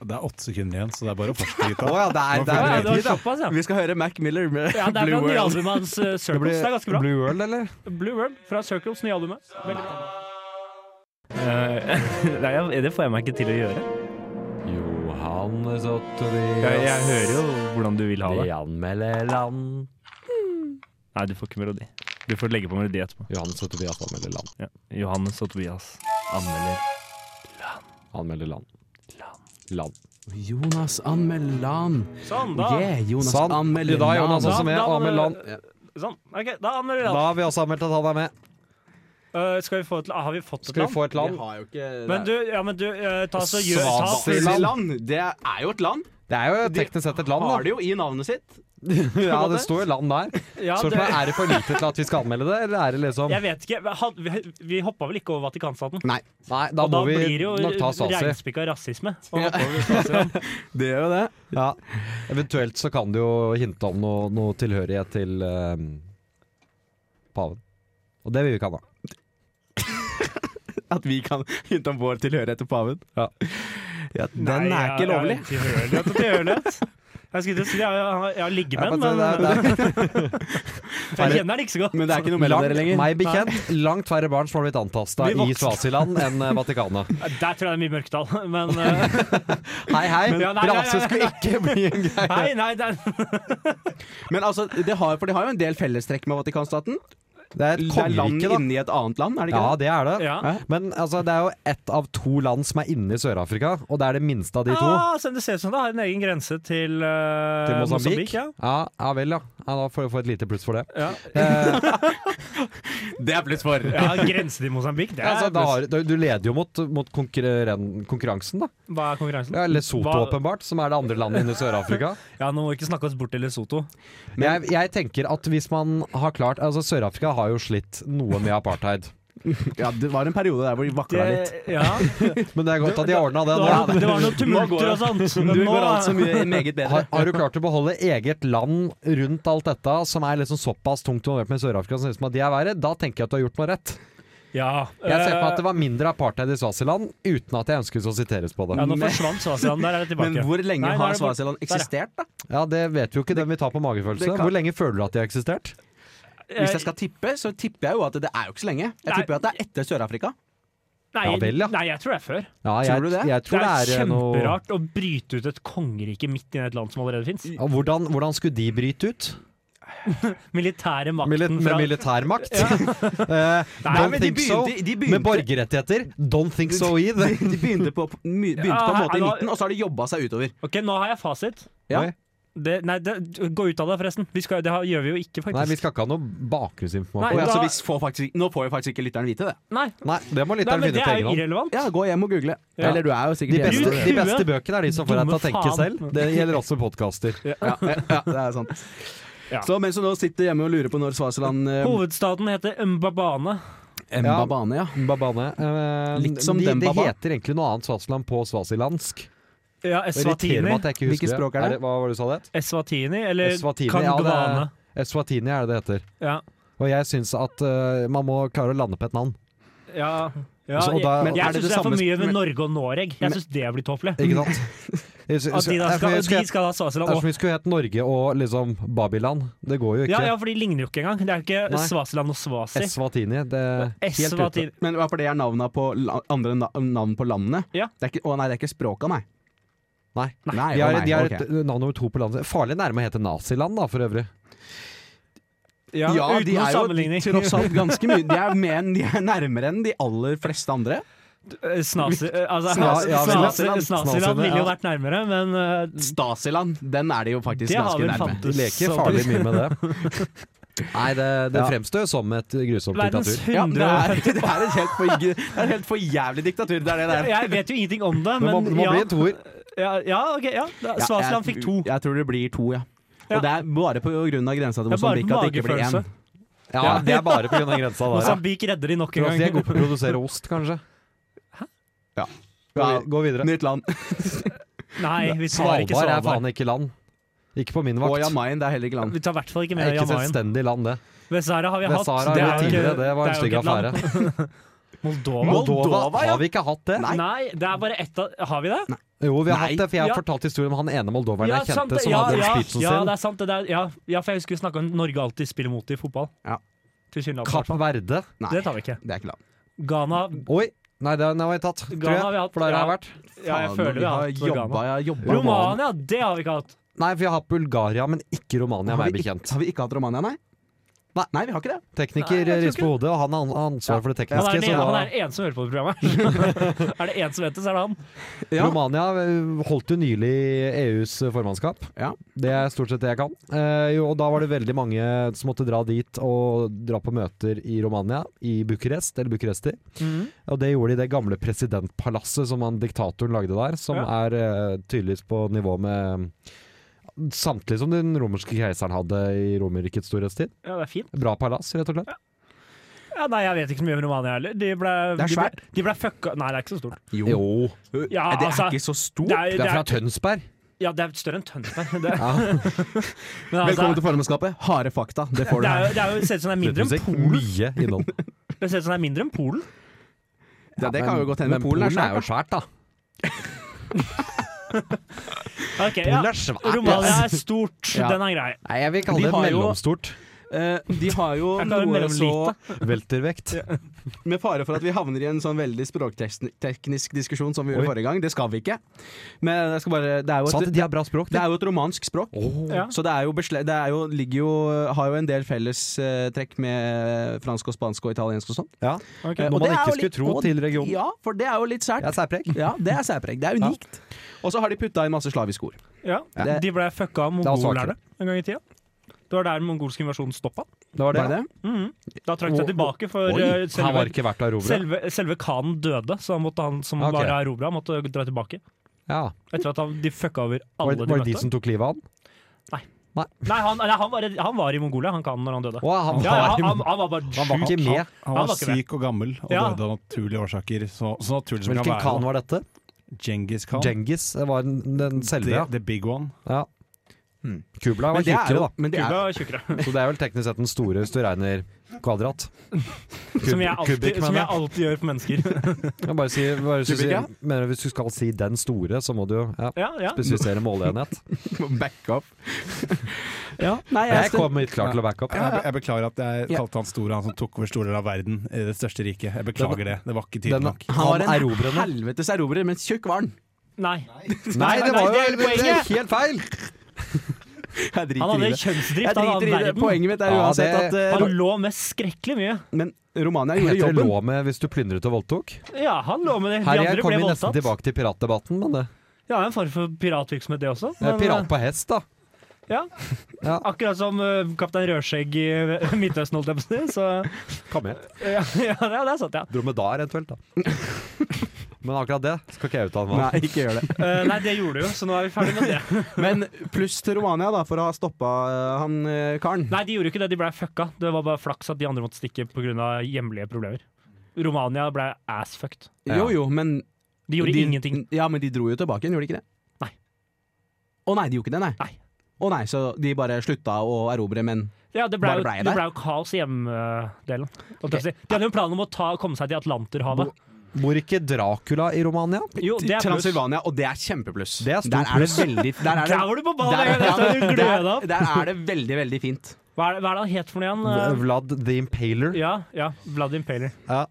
Speaker 6: Det er åtte sekunder igjen, så det er bare å
Speaker 4: Å
Speaker 6: fortsette, gutta.
Speaker 4: ja, det er, det
Speaker 5: Ja,
Speaker 4: er,
Speaker 5: ja, det var såpass, ja.
Speaker 7: vi skal høre Mac Miller med
Speaker 5: ja det er
Speaker 7: Blue
Speaker 5: fra nye
Speaker 7: World.
Speaker 5: albumet hans, uh,
Speaker 4: det
Speaker 5: Circles. Det er ganske
Speaker 4: blir
Speaker 5: bra.
Speaker 4: Blue World, eller?
Speaker 5: Blue World fra Circles, nye albumet. Veldig bra. Eh, nei, det får jeg meg ikke til å gjøre.
Speaker 4: Johannes og Tobias
Speaker 5: hvordan du vil
Speaker 4: De anmelder land.
Speaker 5: Nei, du får ikke melodi. Du får legge på melodi etterpå.
Speaker 4: Johannes og Tobias anmelder land.
Speaker 5: Ja. Johannes og Tobias anmelder
Speaker 4: Anmelder land. Land.
Speaker 7: Jonas Anmelan.
Speaker 5: Sånn, da.
Speaker 7: Yeah, Jonas
Speaker 4: Sånn. I
Speaker 7: Anmelan.
Speaker 4: dag, Jonas,
Speaker 5: Da-
Speaker 4: også med.
Speaker 5: da var det-
Speaker 4: Anmelder land.
Speaker 5: Sånn. Ok, da anmelder
Speaker 4: Da
Speaker 5: vi land.
Speaker 4: har vi også anmeldt at han er med.
Speaker 5: Øh, skal vi få et land? Har vi fått et
Speaker 4: Skal vi
Speaker 5: land?
Speaker 4: få et land?
Speaker 7: har jo ikke
Speaker 5: Men du, ja, men du, øh, ta så gjør ta,
Speaker 7: Swaziland, det er jo et land.
Speaker 4: Det er jo teknisk sett et land,
Speaker 7: Har
Speaker 4: da.
Speaker 7: det jo i navnet sitt.
Speaker 4: Ja, det står jo land der.
Speaker 5: ja,
Speaker 4: Så
Speaker 5: det,
Speaker 4: er det for lite til at vi skal anmelde det, eller er det liksom
Speaker 5: Jeg vet ikke. Had- Vi, vi hoppa vel ikke over Vatikanstaten?
Speaker 7: Nei.
Speaker 4: Nei, da
Speaker 5: Og
Speaker 4: må
Speaker 5: da
Speaker 4: vi
Speaker 5: blir det jo
Speaker 4: nok ta Stasi.
Speaker 5: regnspikka rasisme. Og
Speaker 7: Ja.
Speaker 5: hoppa over Stasi-land.
Speaker 7: Det gjør jo det.
Speaker 4: Ja. Eventuelt så kan det jo hinte om noe, noe tilhørighet til eh, paven. Og det vil vi ikke ha, da.
Speaker 7: At vi kan hinte om vår tilhørighet til paven.
Speaker 4: Ja.
Speaker 7: Ja, den
Speaker 5: Nei,
Speaker 7: er
Speaker 5: ja,
Speaker 7: ikke lovlig.
Speaker 5: Ja, tilhørighet og tilhørighet. Jeg skulle til å si jeg, jeg, jeg har
Speaker 4: Ja,
Speaker 5: liggemenn,
Speaker 4: men
Speaker 5: men
Speaker 4: det er- det er-
Speaker 5: jeg kjenner den ikke så godt.
Speaker 7: Men det er ikke noe mellom
Speaker 4: Langt-
Speaker 7: dere lenger.
Speaker 4: Meg bekjent, langt færre barn som har blitt antasta
Speaker 5: Vi
Speaker 4: i
Speaker 5: vokste.
Speaker 4: Svasiland enn eh, Vatikanet.
Speaker 5: Der tror jeg det er mye mørketall, men øh,
Speaker 4: Hei, hei!
Speaker 5: Men- Ja, nei, nei, nei,
Speaker 4: Rase skulle ikke bli en greie.
Speaker 5: Nei, nei, det er
Speaker 7: Men altså, det har, for de har jo en del fellestrekk med Vatikanstaten.
Speaker 4: Det er et
Speaker 7: Det er land
Speaker 4: kongerike, da.
Speaker 7: inni et annet land, er det
Speaker 4: Ja,
Speaker 7: ikke det?
Speaker 4: det er det.
Speaker 5: Ja.
Speaker 4: Men altså, det er jo ett av to land som er inne i Sør-Afrika, og det er det minste av de to.
Speaker 5: Ja, som Ah, det ser ut som det har en egen grense til, øh,
Speaker 4: Til Mosambik.
Speaker 5: ja.
Speaker 4: Ja. ja vel, ja. ja. Da får du få et lite pluss for det.
Speaker 5: Ja.
Speaker 4: Eh,
Speaker 7: Det er pluss for.
Speaker 5: ja, grense til Mosambik. Det er,
Speaker 4: altså, da har, du leder jo mot, mot konkurren- konkurransen, da.
Speaker 5: Hva er konkurransen?
Speaker 4: Ja, Lesotho,
Speaker 5: Hva-
Speaker 4: åpenbart, som er det andre landet inne i Sør-Afrika.
Speaker 5: Ja, Nå må vi ikke snakke oss bort til Lesotho.
Speaker 4: Men jeg, jeg tenker at hvis man har klart Altså, Sør-Afrika har jo slitt noe med apartheid.
Speaker 7: Ja, det var en periode der hvor de vakla litt.
Speaker 5: ja,
Speaker 4: Men det er godt at de har ordna det
Speaker 5: det,
Speaker 4: nå.
Speaker 5: var, det var noen
Speaker 7: Nå går
Speaker 5: tumulter
Speaker 7: det.
Speaker 5: og sånt.
Speaker 7: Du
Speaker 5: Men nå
Speaker 7: går alt så mye meget bedre.
Speaker 4: Har, har du klart å beholde eget land rundt alt dette, som er liksom såpass tungt involvert med Sør-Afrika, som ser ut som at de er verre, da tenker jeg at du har gjort noe rett.
Speaker 5: ja, eh,
Speaker 4: Jeg ser for meg at det var mindre apartheid i Svasiland, uten at jeg ønsket å siteres på
Speaker 5: ja,
Speaker 4: det.
Speaker 5: Nå forsvant Svasiland. Der er det tilbake.
Speaker 7: Men hvor lenge
Speaker 5: Nei, nå er
Speaker 7: har
Speaker 5: det bort-
Speaker 7: Swaziland
Speaker 5: Der, ja.
Speaker 7: eksistert, da?
Speaker 4: Ja, det vet vi jo ikke, den vi tar på magefølelse.
Speaker 7: det kan-
Speaker 4: Hvor lenge føler du at de har eksistert?
Speaker 7: Hvis jeg skal tippe, så tipper jeg jo at det er jo ikke så lenge. Jeg
Speaker 5: Nei.
Speaker 7: tipper at det er etter Sør-Afrika.
Speaker 5: Eh, nei,
Speaker 4: Ja vel, ja.
Speaker 5: nei, jeg tror det er før.
Speaker 4: Ja,
Speaker 7: Tror du det?
Speaker 4: Jeg tror det er, eh,
Speaker 5: det er
Speaker 4: noe-
Speaker 5: kjemperart å bryte ut et kongerike midt i et land som allerede fins.
Speaker 4: Ja, hvordan, hvordan skulle de bryte ut?
Speaker 5: Militære makten
Speaker 4: Mili med
Speaker 5: fra
Speaker 4: militærmakt? Eh,
Speaker 5: Nei,
Speaker 4: don't
Speaker 7: men de
Speaker 4: think so.
Speaker 7: begynte- de
Speaker 4: Med
Speaker 7: begynte-
Speaker 4: borgerrettigheter? Don't think so either.
Speaker 7: De begynte på, my- begynte på en måte i midten, og så har de jobba seg utover.
Speaker 5: Ok, nå har jeg fasit.
Speaker 7: Ja.
Speaker 4: Oi.
Speaker 5: Det, nei, det, gå ut av det, forresten. Vi skal, det har- gjør vi jo ikke, faktisk.
Speaker 4: Nei, vi skal ikke ha noe bakgrunnsinformasjon.
Speaker 7: Og
Speaker 5: Nei,
Speaker 7: ja, så
Speaker 5: da-
Speaker 7: hvis får faktisk, nå får jo faktisk ikke lytteren vite det.
Speaker 5: Nei.
Speaker 4: Nei, det må
Speaker 5: Nei,
Speaker 4: lytteren
Speaker 5: men
Speaker 4: finne
Speaker 5: det
Speaker 4: på
Speaker 5: er
Speaker 4: egen
Speaker 5: jo
Speaker 4: hånd.
Speaker 5: irrelevant.
Speaker 7: Ja, gå hjem og google.
Speaker 5: Ja.
Speaker 7: Eller du er jo sikkert
Speaker 4: De beste,
Speaker 5: Bruk
Speaker 4: de
Speaker 5: huet.
Speaker 4: beste bøkene er de som får deg til å
Speaker 5: Dumme
Speaker 4: tenke
Speaker 5: faen.
Speaker 4: selv. Det gjelder også podkaster.
Speaker 7: Ja, ja, ja, det er sant.
Speaker 5: Ja.
Speaker 7: Så mens du nå sitter hjemme og lurer på når Swaziland eh,
Speaker 5: Hovedstaden heter Mbabane.
Speaker 7: Mbabane, ja.
Speaker 4: Mbabane. Eh,
Speaker 7: Litt som
Speaker 4: de,
Speaker 7: den
Speaker 4: det
Speaker 7: Baba.
Speaker 4: heter egentlig noe annet Svasiland på svasilandsk.
Speaker 5: Ja,
Speaker 4: Irriterer
Speaker 5: Eswatini.
Speaker 4: meg at jeg ikke husker
Speaker 7: Hvilket språk er det?
Speaker 4: Hva var det du sa det? het?
Speaker 5: Eswatini eller
Speaker 4: Eswatini, ja, det er-
Speaker 5: Kangwane.
Speaker 4: Eswatini er det det heter.
Speaker 5: Ja,
Speaker 4: Og jeg syns at eh, man må klare å lande på et navn.
Speaker 5: ja, ja.
Speaker 4: Altså, og da-
Speaker 5: jeg jeg
Speaker 7: er det
Speaker 5: syns
Speaker 7: det
Speaker 5: det er for
Speaker 7: samme-
Speaker 5: mye med Norge og Noreg. Jeg syns det blir tåpelig.
Speaker 4: Ikke sant? Jeg syns-
Speaker 5: At de, da
Speaker 4: det er som
Speaker 5: skal,
Speaker 4: vi skulle-
Speaker 5: de skal ha Swaziland.
Speaker 4: det er som
Speaker 5: Og,
Speaker 4: vi skulle hett Norge og liksom Babyland. Det går jo ikke.
Speaker 5: ja, ja, for de ligner jo ikke engang. Det er jo
Speaker 4: Nei.
Speaker 5: ikke Swaziland og Swasi.
Speaker 4: Eswatini. Det er helt ute.
Speaker 5: Eswatini.
Speaker 7: Men hva for det er navna på la, andre na navn på landene?
Speaker 5: Ja.
Speaker 7: Det er ikke, å nei, det er ikke språka, nei.
Speaker 4: Nei.
Speaker 7: Nei,
Speaker 4: De
Speaker 7: å
Speaker 4: er,
Speaker 7: nei,
Speaker 4: de er
Speaker 7: ok.
Speaker 4: et navn nummer to på landet. Farlig nærme å hete naziland, da, for øvrig.
Speaker 5: Ja,
Speaker 7: Ja,
Speaker 5: uten
Speaker 7: de
Speaker 5: noe
Speaker 7: er jo
Speaker 5: sammenligning.
Speaker 7: tross alt ganske mye De er, mer, enn- de er nærmere enn de aller fleste andre.
Speaker 5: Eh, Snasi, eh, altså,
Speaker 4: Sna- ja,
Speaker 5: Snasi-
Speaker 7: Snasiland.
Speaker 5: Snasiland ville jo vært nærmere, men eh,
Speaker 7: Stasiland, den er de jo faktisk
Speaker 5: det har
Speaker 7: ganske
Speaker 5: vel
Speaker 7: nærme.
Speaker 4: De
Speaker 5: fantes.
Speaker 4: leker
Speaker 5: sånn-
Speaker 4: farlig mye med det. Nei, det, det
Speaker 7: Ja.
Speaker 4: fremstår jo som et grusomt
Speaker 5: Verdens
Speaker 4: diktatur.
Speaker 7: Ja, det,
Speaker 5: 100
Speaker 7: er, det er et helt for, det er et helt for jævlig diktatur. Det er det der.
Speaker 5: Jeg vet jo ingenting om det,
Speaker 4: Det må,
Speaker 5: men
Speaker 4: det må
Speaker 5: ja,
Speaker 4: bli en toer.
Speaker 5: ja, ja, ok, ja. Da-
Speaker 7: Ja,
Speaker 5: Svasiland
Speaker 7: jeg-
Speaker 5: fikk to.
Speaker 7: Jeg tror det blir to, ja.
Speaker 5: Ja.
Speaker 7: Og det er bare på grunn av grensa til
Speaker 5: Det er bare
Speaker 7: Mosambik at det ikke blir
Speaker 5: magefølelse.
Speaker 7: én.
Speaker 4: Ja, det er bare pga. grensa der. Ja.
Speaker 5: Mosambik redder de nok en
Speaker 4: Tror også de er
Speaker 5: gang.
Speaker 4: gode på å produsere ost, kanskje. Gå,
Speaker 7: Ja,
Speaker 4: vi- gå videre.
Speaker 7: nytt land.
Speaker 5: Nei, vi tar ikke
Speaker 4: Svalbard er
Speaker 5: Svalbard.
Speaker 4: faen ikke land. Ikke på min
Speaker 7: Og
Speaker 4: vakt.
Speaker 7: Jamain, det er heller ikke land.
Speaker 5: Vi tar i hvert fall ikke
Speaker 4: Det
Speaker 5: med
Speaker 4: er Ikke
Speaker 5: Jamaien.
Speaker 4: selvstendig land, det.
Speaker 5: Vest-Sahara har vi hatt.
Speaker 4: Vest-Sahara
Speaker 5: Det
Speaker 4: har
Speaker 5: er
Speaker 4: vi
Speaker 5: jo
Speaker 4: tidligere,
Speaker 5: ikke-
Speaker 4: det var en
Speaker 5: det er jo
Speaker 4: stygg
Speaker 5: ikke et land.
Speaker 4: affære.
Speaker 5: Moldova?
Speaker 4: Moldova
Speaker 7: Moldova, ja.
Speaker 4: har vi ikke hatt det?
Speaker 7: Nei.
Speaker 5: Nei, det er bare ett av Har vi det?
Speaker 4: Jo, vi har
Speaker 7: Nei.
Speaker 4: hatt det, for jeg har
Speaker 5: Ja.
Speaker 4: fortalt historien om han ene moldoveren jeg
Speaker 5: sant
Speaker 4: kjente
Speaker 5: det.
Speaker 4: som
Speaker 5: ja,
Speaker 4: hadde
Speaker 5: ja,
Speaker 4: den speechen
Speaker 5: ja, det
Speaker 4: sin.
Speaker 5: er sant. Det der, ja, ja, for jeg husker vi snakka om Norge alltid spiller mot i fotball.
Speaker 7: Ja.
Speaker 5: Tilsynelatende.
Speaker 4: Kapp Verde.
Speaker 7: Nei,
Speaker 5: Det tar vi ikke.
Speaker 7: det er ikke land.
Speaker 5: Ghana
Speaker 4: Oi! Nei, den har vi tatt, tror
Speaker 5: Ghana har vi
Speaker 4: jeg.
Speaker 5: hatt,
Speaker 4: For der har jeg
Speaker 5: ja.
Speaker 4: vært.
Speaker 5: Ja, jeg
Speaker 7: Faen,
Speaker 5: føler vi har hatt
Speaker 7: jeg har jobba,
Speaker 5: Ghana.
Speaker 7: jeg har jobba
Speaker 5: Romania, det har vi ikke hatt.
Speaker 4: Nei, for jeg har hatt Bulgaria, men ikke Romania,
Speaker 7: Har
Speaker 4: meg
Speaker 7: vi, ikke,
Speaker 4: bekjent.
Speaker 7: har vi ikke hatt Romania, nei? Nei, vi har ikke det.
Speaker 4: Tekniker rister på hodet, og han har an- ansvar for det
Speaker 5: Han
Speaker 4: tekniske.
Speaker 5: er, den,
Speaker 4: så
Speaker 5: han
Speaker 4: da,
Speaker 5: er den eneste som hører på det programmet. er det én som vet det, så er det han.
Speaker 7: Ja.
Speaker 4: Romania eh, holdt jo nylig EUs formannskap.
Speaker 7: Ja.
Speaker 4: Det er stort sett det jeg kan. Eh, jo, og da var det veldig mange som måtte dra dit og dra på møter i Romania, i Bucuresti, eller Bucuresti. Og det gjorde de i det gamle presidentpalasset som han diktatoren lagde der, som
Speaker 5: Ja.
Speaker 4: er eh, tydeligvis på nivå med Samtidig som den romerske keiseren hadde i Romerrikets storhetstid.
Speaker 5: Ja, det er fint.
Speaker 4: Bra palass, rett og slett.
Speaker 5: Ja, nei, jeg vet ikke så mye om Romania heller. De ble,
Speaker 7: Det er
Speaker 5: de ble-
Speaker 7: svært.
Speaker 5: De ble fucka Nei, det er ikke så stort.
Speaker 7: Jo. Eh,
Speaker 5: Ja,
Speaker 7: det er
Speaker 5: altså,
Speaker 7: ikke så stort.
Speaker 5: Det er,
Speaker 4: Det er fra Tønsberg.
Speaker 5: ja, det er større enn Tønsberg. Det,
Speaker 4: Ja.
Speaker 5: men altså,
Speaker 7: Velkommen til formannskapet. Harde fakta. Det får
Speaker 5: det
Speaker 7: du
Speaker 5: er
Speaker 7: her.
Speaker 5: jo, det er jo, ser ut som det er mindre enn
Speaker 4: Musikk,
Speaker 5: Polen.
Speaker 4: Mye innhold.
Speaker 5: Det ser ut som det er mindre enn Polen.
Speaker 7: Ja, det kan jo godt hende.
Speaker 4: Men
Speaker 7: Men Polen er svært.
Speaker 4: jo svært, da.
Speaker 5: Ok, ja.
Speaker 4: Polen er svært.
Speaker 5: Romania
Speaker 4: ass.
Speaker 5: er stort.
Speaker 7: Ja.
Speaker 5: Den er grei.
Speaker 4: Nei, jeg vil
Speaker 7: De
Speaker 4: kalle det
Speaker 7: har jo-
Speaker 4: mellomstort.
Speaker 7: Eh, de har jo
Speaker 5: Jeg klarer
Speaker 7: noe
Speaker 5: mellom
Speaker 7: så
Speaker 4: Weltervekt.
Speaker 7: Med fare for at vi havner i en sånn veldig språkteknisk diskusjon som vi
Speaker 4: Oi.
Speaker 7: gjorde forrige gang. Det skal vi ikke. Men jeg skal bare, det,
Speaker 4: Sa
Speaker 7: er jo
Speaker 4: Sånn at
Speaker 7: et,
Speaker 4: de har bra språk,
Speaker 7: det
Speaker 4: de.
Speaker 7: er jo et romansk språk.
Speaker 5: Ja.
Speaker 7: Så det, er jo besle det er jo, ligger jo, har jo en del fellestrekk med fransk og spansk og italiensk og sånn.
Speaker 4: Ja.
Speaker 5: Ok.
Speaker 7: Eh,
Speaker 4: Noe
Speaker 7: og
Speaker 4: man
Speaker 7: det er
Speaker 4: ikke
Speaker 7: jo litt-
Speaker 4: skulle tro
Speaker 7: og-
Speaker 4: til regionen.
Speaker 7: Ja, for det er jo litt sært.
Speaker 4: Det er særpreg.
Speaker 7: Ja, det er særpreg. Det er unikt. Og så har de putta inn masse slaviske ord.
Speaker 5: Ja.
Speaker 7: Det-
Speaker 5: De ble fucka av
Speaker 4: var
Speaker 5: mongolerne en gang i tida. Det var der den mongolske invasjonen stoppa.
Speaker 4: Det var det.
Speaker 7: Var det?
Speaker 5: Mhm. Da trakk de seg tilbake, for
Speaker 7: Oi.
Speaker 5: eh,
Speaker 4: Han var
Speaker 5: selve,
Speaker 4: ikke verdt å erobre.
Speaker 5: selve, selve khanen døde, så han, måtte, han som
Speaker 4: Ah, Ok.
Speaker 5: var erobra, måtte dra tilbake.
Speaker 4: Ja.
Speaker 5: Etter at han, de fucka over
Speaker 4: Var,
Speaker 5: alle
Speaker 4: det-
Speaker 5: de
Speaker 4: var det
Speaker 5: møtte.
Speaker 4: de som tok livet av han?
Speaker 5: Nei, han, nei han, var, han var i Mongolia, han kan når han døde.
Speaker 4: Å, han,
Speaker 5: Ja, ja,
Speaker 4: var,
Speaker 5: han, han, han var bare
Speaker 4: han var
Speaker 5: sjuk.
Speaker 4: ikke med.
Speaker 6: Han
Speaker 5: Han
Speaker 6: var,
Speaker 5: var ikke
Speaker 6: syk og gammel og
Speaker 5: Ja.
Speaker 6: døde av naturlige årsaker. Så, så naturlig som
Speaker 4: Hvilken
Speaker 6: kan
Speaker 4: khan
Speaker 6: være.
Speaker 4: var dette?
Speaker 6: Genghis Khan.
Speaker 4: Djengis var den, den selve, ja.
Speaker 6: The, the big one.
Speaker 4: ja.
Speaker 7: Hmm.
Speaker 4: Kubla
Speaker 7: Men
Speaker 4: var
Speaker 7: det er
Speaker 4: tjukkere,
Speaker 7: jo men det
Speaker 5: Kuba
Speaker 7: er,
Speaker 5: var tjukkere.
Speaker 4: da. Så det er vel teknisk sett den store, hvis du regner kvadrat.
Speaker 5: Som jeg alltid,
Speaker 4: kubikk,
Speaker 5: som
Speaker 4: mener
Speaker 5: jeg alltid gjør på mennesker.
Speaker 4: Jeg bare si, bare si,
Speaker 7: Kubikk, ja.
Speaker 4: mener, hvis du skal si 'den store', så må du jo ja,
Speaker 5: Ja, ja.
Speaker 4: spesifisere måleenhet.
Speaker 7: Back up. ja, nei, jeg,
Speaker 4: Jeg kommer litt klar til å backe opp.
Speaker 6: Jeg, be- jeg beklager at jeg
Speaker 7: Ja.
Speaker 6: kalte han store, han som tok over store deler av verden. eh, Det største riket. Jeg beklager det. Det var ikke
Speaker 4: Den,
Speaker 6: tydelig nok.
Speaker 7: han var
Speaker 4: han
Speaker 7: en
Speaker 4: erobrende.
Speaker 7: helvetes erobrer, men tjukk var han.
Speaker 5: Nei.
Speaker 4: Nei, det var
Speaker 5: det
Speaker 4: jo
Speaker 5: er hele
Speaker 4: det er
Speaker 5: poenget!
Speaker 4: helt feil!
Speaker 7: Jeg driter
Speaker 5: Han
Speaker 7: i
Speaker 5: hadde
Speaker 7: det. Jeg
Speaker 5: kjønnsdrift, han
Speaker 7: driter
Speaker 5: hadde
Speaker 7: i det.
Speaker 5: verden.
Speaker 7: Poenget mitt er
Speaker 4: Ja,
Speaker 7: uansett
Speaker 4: det-
Speaker 7: at eh,
Speaker 5: Han lå med skrekkelig mye.
Speaker 7: Men Romania
Speaker 4: Heter
Speaker 7: gjorde
Speaker 4: det
Speaker 7: jobben.
Speaker 4: lå med hvis du plyndret og voldtok?
Speaker 5: Ja, han lå med det. De
Speaker 4: Her jeg
Speaker 5: andre
Speaker 4: kom
Speaker 5: ble
Speaker 4: vi nesten
Speaker 5: voldtatt.
Speaker 4: tilbake til piratdebatten, men det
Speaker 5: Ja, en form for piratvirksomhet, det også.
Speaker 4: det er
Speaker 5: Men, eh,
Speaker 4: pirat på hest, da.
Speaker 5: ja.
Speaker 4: Ja.
Speaker 5: Akkurat som eh, Kaptein Rødskjegg i eh, Midtøsten, holdt jeg på å si. Så eh,
Speaker 4: Kamet.
Speaker 5: ja, ja, det er sant, ja.
Speaker 4: Dromedar eventuelt, da. Men akkurat det skal ikke jeg uttale meg om.
Speaker 7: Nei, ikke gjør det.
Speaker 5: Eh, nei, det gjorde du jo, så nå er vi ferdig med det.
Speaker 7: Men pluss til Romania, da, for å ha stoppa han eh, karen.
Speaker 5: Nei, de gjorde ikke det, de ble fucka. Det var bare flaks at de andre måtte stikke pga. hjemlige problemer. Romania ble assfucked.
Speaker 7: Jo jo, men
Speaker 5: De gjorde ingenting.
Speaker 7: Ja, men de dro jo tilbake igjen, gjorde de ikke det? Å nei, de gjorde ikke det, nei.
Speaker 5: Nei.
Speaker 7: Å nei, så de bare slutta å erobre, men
Speaker 5: Ja, det ble,
Speaker 7: Bare
Speaker 5: jo,
Speaker 7: blei
Speaker 5: det
Speaker 7: der.
Speaker 5: ble jo kaos i hjemdelen. holdt jeg på å si. De hadde jo en plan om å ta, komme seg til Atlanterhavet.
Speaker 4: Bor ikke Dracula i Romania?
Speaker 5: Jo, det er pluss.
Speaker 7: Transylvania, og det er kjempepluss.
Speaker 4: Det er stort
Speaker 7: der er det veldig der er det,
Speaker 5: Der var du på ballen!
Speaker 7: der,
Speaker 5: jeg vet at du glødet
Speaker 7: der,
Speaker 5: opp.
Speaker 7: der er det veldig, veldig fint.
Speaker 5: Hva er, det- hva er det han het for noe igjen?
Speaker 4: Vlad the
Speaker 5: Eh,
Speaker 4: Impaler.
Speaker 5: Ja, ja, Vlad Impaler.
Speaker 4: Ja,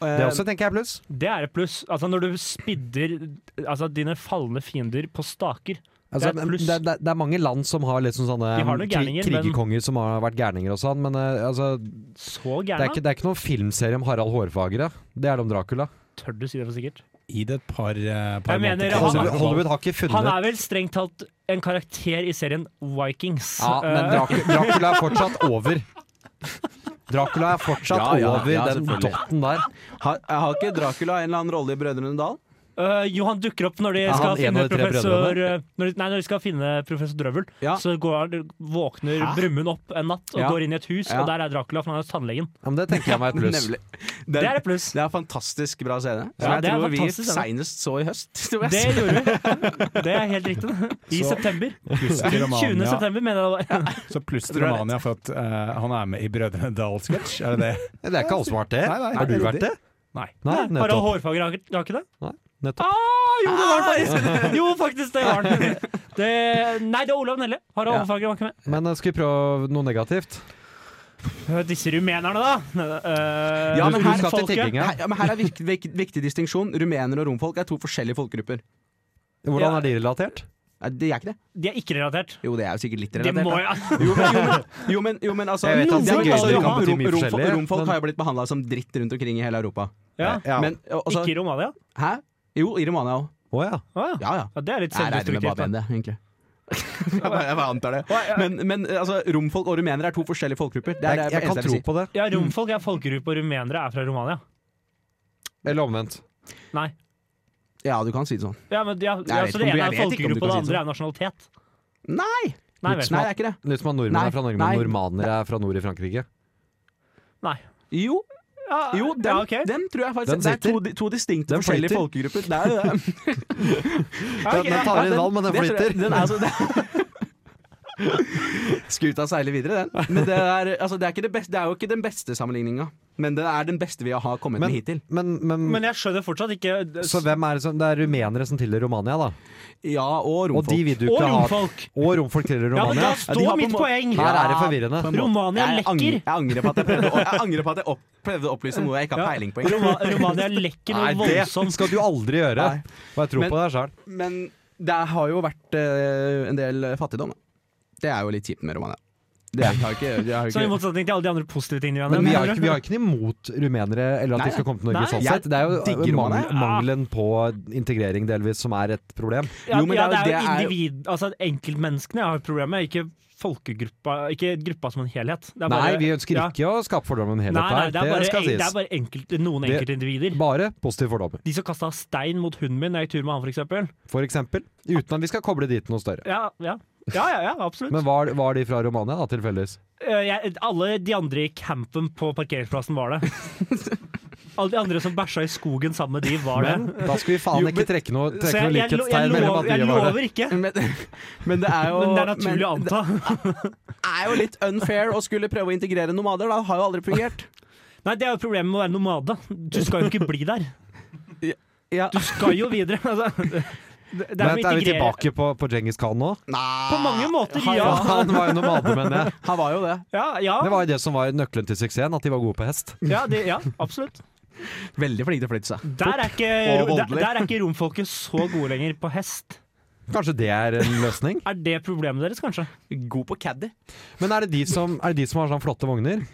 Speaker 4: det også tenker jeg er pluss.
Speaker 5: Det er et pluss. Altså, når du spidder altså, dine falne fiender på staker
Speaker 4: Altså,
Speaker 5: Det er
Speaker 4: det,
Speaker 5: et
Speaker 4: er
Speaker 5: pluss.
Speaker 4: det, er, det er mange land som har liksom sånne
Speaker 5: De har noen
Speaker 4: kri-
Speaker 5: gærninger, men-
Speaker 4: krigerkonger som har vært gærninger og sånn, men eh, altså, det,
Speaker 5: Så
Speaker 4: er
Speaker 5: gærne?
Speaker 4: ikke, det er ikke noen filmserie om Harald Hårfagre. Det er det om Dracula.
Speaker 5: Tør du si det for sikkert?
Speaker 6: Gi det et par, eh, par
Speaker 5: Jeg mener,
Speaker 6: måneder.
Speaker 5: han-
Speaker 4: Hollywood, Hollywood har ikke
Speaker 5: Han
Speaker 4: funnet
Speaker 5: er vel strengt talt en karakter i serien Vikings.
Speaker 4: ja, Men
Speaker 5: Eh,
Speaker 4: Dracula, Dracula er fortsatt over. Dracula er fortsatt
Speaker 7: Ja, ja,
Speaker 4: over
Speaker 7: ja,
Speaker 4: den
Speaker 7: selvfølgelig.
Speaker 4: dotten der.
Speaker 7: Har, har ikke Dracula en eller annen rolle i Brødrene Dal?
Speaker 5: øh, jo, han dukker opp når de
Speaker 4: Er
Speaker 5: skal
Speaker 4: han en
Speaker 5: finne
Speaker 4: av de tre
Speaker 5: professor øh, når de, Nei, når de skal finne professor Drøvel,
Speaker 7: Ja.
Speaker 5: så går, han- våkner
Speaker 7: Hæ?
Speaker 5: Brumund opp en natt og
Speaker 7: Ja.
Speaker 5: går inn i et hus,
Speaker 7: Ja.
Speaker 5: og der er Dracula, for han er hos tannlegen.
Speaker 4: Ja, men det tenker jeg meg er et pluss.
Speaker 7: Nemlig.
Speaker 5: Det er et pluss.
Speaker 7: Det er en fantastisk bra scene. Som
Speaker 5: Ja,
Speaker 7: jeg
Speaker 5: det er
Speaker 7: tror vi
Speaker 5: fantastisk scene.
Speaker 7: seinest så i høst. tror jeg.
Speaker 5: Det gjorde vi. Det er helt riktig. I september.
Speaker 6: Pluss
Speaker 5: 20.
Speaker 6: til Romania.
Speaker 5: september, mener jeg det var.
Speaker 6: Så pluss til
Speaker 7: Tror jeg
Speaker 6: Romania for at eh, han er med i Brødrene Dal-sketsj, er det det?
Speaker 4: Det er ikke alle som har vært det.
Speaker 6: Nei, nei,
Speaker 4: har du
Speaker 6: det er
Speaker 4: vært det?
Speaker 6: Nei.
Speaker 4: Nei,
Speaker 5: Harald
Speaker 4: nettopp.
Speaker 5: Hårfager har ikke- har ikke det?
Speaker 4: Nei, nettopp.
Speaker 5: Ah, jo, det var han faktisk! Jo, faktisk, det var han. Det, nei, det er Olav Nelle. Harald
Speaker 7: Ja.
Speaker 5: Hårfager var ikke med.
Speaker 4: Men eh, skal vi prøve noe negativt?
Speaker 5: Øh, Disse rumenerne, da. Øh,
Speaker 7: Ja, men
Speaker 4: du
Speaker 7: her-
Speaker 4: skal til
Speaker 5: folket.
Speaker 4: tigginga.
Speaker 7: Her, ja, men her er viktig, viktig, viktig distinksjon. Rumenere og romfolk er to forskjellige folkegrupper.
Speaker 4: Hvordan er de relatert?
Speaker 7: Nei, det er ikke det.
Speaker 5: De er ikke relatert.
Speaker 7: Jo, det er jo sikkert litt
Speaker 5: De
Speaker 7: relatert.
Speaker 5: må
Speaker 7: da.
Speaker 5: jo
Speaker 7: Jo, men, jo, men, jo, men, jo, men altså
Speaker 4: Jeg vet at
Speaker 7: det er
Speaker 5: noen
Speaker 7: gøy,
Speaker 5: ganger
Speaker 7: altså,
Speaker 5: kan
Speaker 7: rom,
Speaker 4: bety
Speaker 7: rom,
Speaker 4: mye
Speaker 7: romfolk,
Speaker 4: forskjellig,
Speaker 7: romfolk
Speaker 4: men-
Speaker 7: har jo blitt behandla som dritt rundt omkring i hele Europa.
Speaker 5: ja.
Speaker 4: Ja.
Speaker 7: Men og- altså,
Speaker 5: Ikke i Romania?
Speaker 7: Hæ? Jo, i Romania òg.
Speaker 4: Å ja.
Speaker 5: Å ja.
Speaker 7: Ja ja.
Speaker 5: ja, det er litt
Speaker 7: Jeg regner med
Speaker 5: selvdestruktivt. da.
Speaker 7: bare det, egentlig. jeg, bare, jeg bare antar det.
Speaker 5: Å, ja.
Speaker 7: Men, men altså, romfolk og rumenere er to forskjellige folkegrupper. Det er
Speaker 4: Jeg,
Speaker 7: det
Speaker 4: jeg kan
Speaker 7: eneste jeg vil
Speaker 4: tro
Speaker 7: si.
Speaker 4: på det.
Speaker 5: Ja, romfolk er folkegruppe, og rumenere er fra Romania.
Speaker 4: Eller omvendt.
Speaker 5: Nei.
Speaker 7: Ja, du kan si det sånn.
Speaker 5: Ja, men, ja, ja, så
Speaker 7: vet
Speaker 5: det ene er
Speaker 7: ikke om du- jeg vet ikke om du
Speaker 5: folkegruppe, og det
Speaker 7: kan si
Speaker 5: andre er nasjonalitet.
Speaker 7: Nei!
Speaker 5: Nei vel.
Speaker 7: Nei, det er ikke det.
Speaker 4: Litt som at nordmenn
Speaker 7: Nei,
Speaker 4: er fra Norge,
Speaker 7: nei.
Speaker 4: men normanere er fra nord i Frankrike.
Speaker 5: Nei.
Speaker 7: Jo,
Speaker 5: Ja,
Speaker 7: jo den,
Speaker 5: ja, ok.
Speaker 7: den tror jeg faktisk
Speaker 4: Den
Speaker 7: Det er to,
Speaker 4: sitter.
Speaker 7: di- to distinkte
Speaker 4: Den
Speaker 7: forskjellige
Speaker 4: flyter.
Speaker 7: folkegrupper. Det er jo det.
Speaker 5: Ja, ok,
Speaker 4: den
Speaker 5: ja.
Speaker 4: tar inn vann, men den
Speaker 7: Det tror
Speaker 4: flyter.
Speaker 7: jeg- Den er så, Skuta seiler videre, den. Men det er, altså, det, er ikke det, beste, det er jo ikke den beste sammenligninga. Men det er den beste vi har kommet
Speaker 4: Men-
Speaker 7: med hittil.
Speaker 4: Men, men,
Speaker 5: Men jeg skjønner fortsatt ikke
Speaker 4: Så hvem er det som Det er rumenere som tilhører Romania, da.
Speaker 7: Ja, og
Speaker 4: Og
Speaker 7: romfolk.
Speaker 4: de vil du
Speaker 5: Og
Speaker 4: ikke ha.
Speaker 5: romfolk!
Speaker 4: Og romfolk tilhører
Speaker 5: Ja, men
Speaker 4: Romania.
Speaker 5: da
Speaker 7: Ja, de
Speaker 5: står
Speaker 7: har på en
Speaker 5: mitt
Speaker 7: må-
Speaker 5: poeng!
Speaker 4: Her er det forvirrende.
Speaker 7: på en måte.
Speaker 5: Romania
Speaker 7: Jeg ang-
Speaker 5: lekker.
Speaker 7: Jeg angrer på at jeg prøvde å, jeg angrer på at jeg opp, prøvde å opplyse om noe jeg ikke har
Speaker 5: Ja.
Speaker 7: peiling på. egentlig.
Speaker 5: Roma, Romania lekker noe
Speaker 4: Nei, det
Speaker 5: voldsomt.
Speaker 4: skal du aldri gjøre.
Speaker 7: Nei.
Speaker 4: Og jeg tror
Speaker 7: Men-
Speaker 4: på deg sjøl.
Speaker 7: Men det har jo vært eh, en del fattigdom. da. Det er jo litt kjipt med Romania. Det er- har ikke, det har
Speaker 5: Så i
Speaker 7: ikke
Speaker 5: motsetning til alle de andre positive tingene
Speaker 4: Men vi
Speaker 5: vi
Speaker 4: har,
Speaker 5: har
Speaker 4: ikke, vi har ikke noe imot rumenere eller at
Speaker 7: Nei,
Speaker 4: de skal komme til Norge
Speaker 5: nei.
Speaker 4: sånn
Speaker 7: Jeg
Speaker 4: sett. Det er
Speaker 7: digger
Speaker 4: jo mangel,
Speaker 7: Romania.
Speaker 4: mangelen på integrering delvis som er et problem.
Speaker 5: Ja,
Speaker 7: Jo, men
Speaker 5: ja,
Speaker 7: det
Speaker 5: det
Speaker 7: er
Speaker 5: er jo
Speaker 7: jo- det er jo-
Speaker 5: individ... Altså enkeltmenneskene har problemet, ikke folkegruppa, ikke gruppa som en helhet. Det er
Speaker 4: Nei,
Speaker 5: bare-
Speaker 4: vi ønsker
Speaker 5: ja.
Speaker 4: ikke å skape fordommer om
Speaker 5: Nei,
Speaker 4: helhet
Speaker 5: nei,
Speaker 4: her.
Speaker 5: det er
Speaker 4: Det
Speaker 5: bare,
Speaker 4: skal
Speaker 5: det er
Speaker 4: sies.
Speaker 5: bare enkelt, noen
Speaker 4: Det-
Speaker 5: enkeltindivider.
Speaker 4: Bare positive fordommer.
Speaker 5: De som kasta stein mot hunden min når jeg gikk tur med han, for eksempel.
Speaker 4: For eksempel. Uten at vi skal koble dit noe større.
Speaker 5: Ja, ja. Ja, ja, ja, absolutt.
Speaker 4: Men var, var de fra Romania, da, tilfeldigvis?
Speaker 5: Eh, jeg, alle de andre i campen på parkeringsplassen var det. alle de andre som bæsja i skogen sammen med de, var det.
Speaker 4: Men da skal vi faen
Speaker 7: Jo,
Speaker 4: ikke trekke noe, trekke
Speaker 5: Så jeg,
Speaker 4: noe
Speaker 5: jeg, lo- jeg,
Speaker 4: likhetstegn mellom
Speaker 5: lover,
Speaker 4: at
Speaker 5: jeg
Speaker 4: de var det.
Speaker 5: lover ikke,
Speaker 7: men, men det er jo
Speaker 5: men det er naturlig å
Speaker 7: men
Speaker 5: anta.
Speaker 7: Det er jo litt unfair å skulle prøve å integrere nomader. Da Det har jo aldri fungert.
Speaker 5: Nei, det er jo problemet med å være nomade. Du skal jo ikke bli der.
Speaker 7: Ja.
Speaker 5: Du skal jo videre. Altså, det, det
Speaker 4: Men
Speaker 5: er jo
Speaker 4: er vi
Speaker 5: integrere-
Speaker 4: tilbake på, på Djengis Khan nå?
Speaker 5: På mange måter,
Speaker 7: Har-
Speaker 5: ja.
Speaker 4: Han var jo nomade, mener jeg.
Speaker 7: Han var jo det.
Speaker 5: Ja, ja,
Speaker 4: Det var jo det som var nøkkelen til suksessen, at de var gode på hest.
Speaker 5: ja, det, ja absolutt.
Speaker 7: Veldig flink til å flytte seg.
Speaker 5: Der er, ikke,
Speaker 7: og
Speaker 5: ro- der,
Speaker 7: voldelig.
Speaker 5: der er ikke romfolket så gode lenger på hest.
Speaker 4: Kanskje det er en løsning?
Speaker 5: Er det problemet deres, kanskje?
Speaker 7: God på caddy.
Speaker 4: Men er det de som, er det de som har sånne flotte vogner?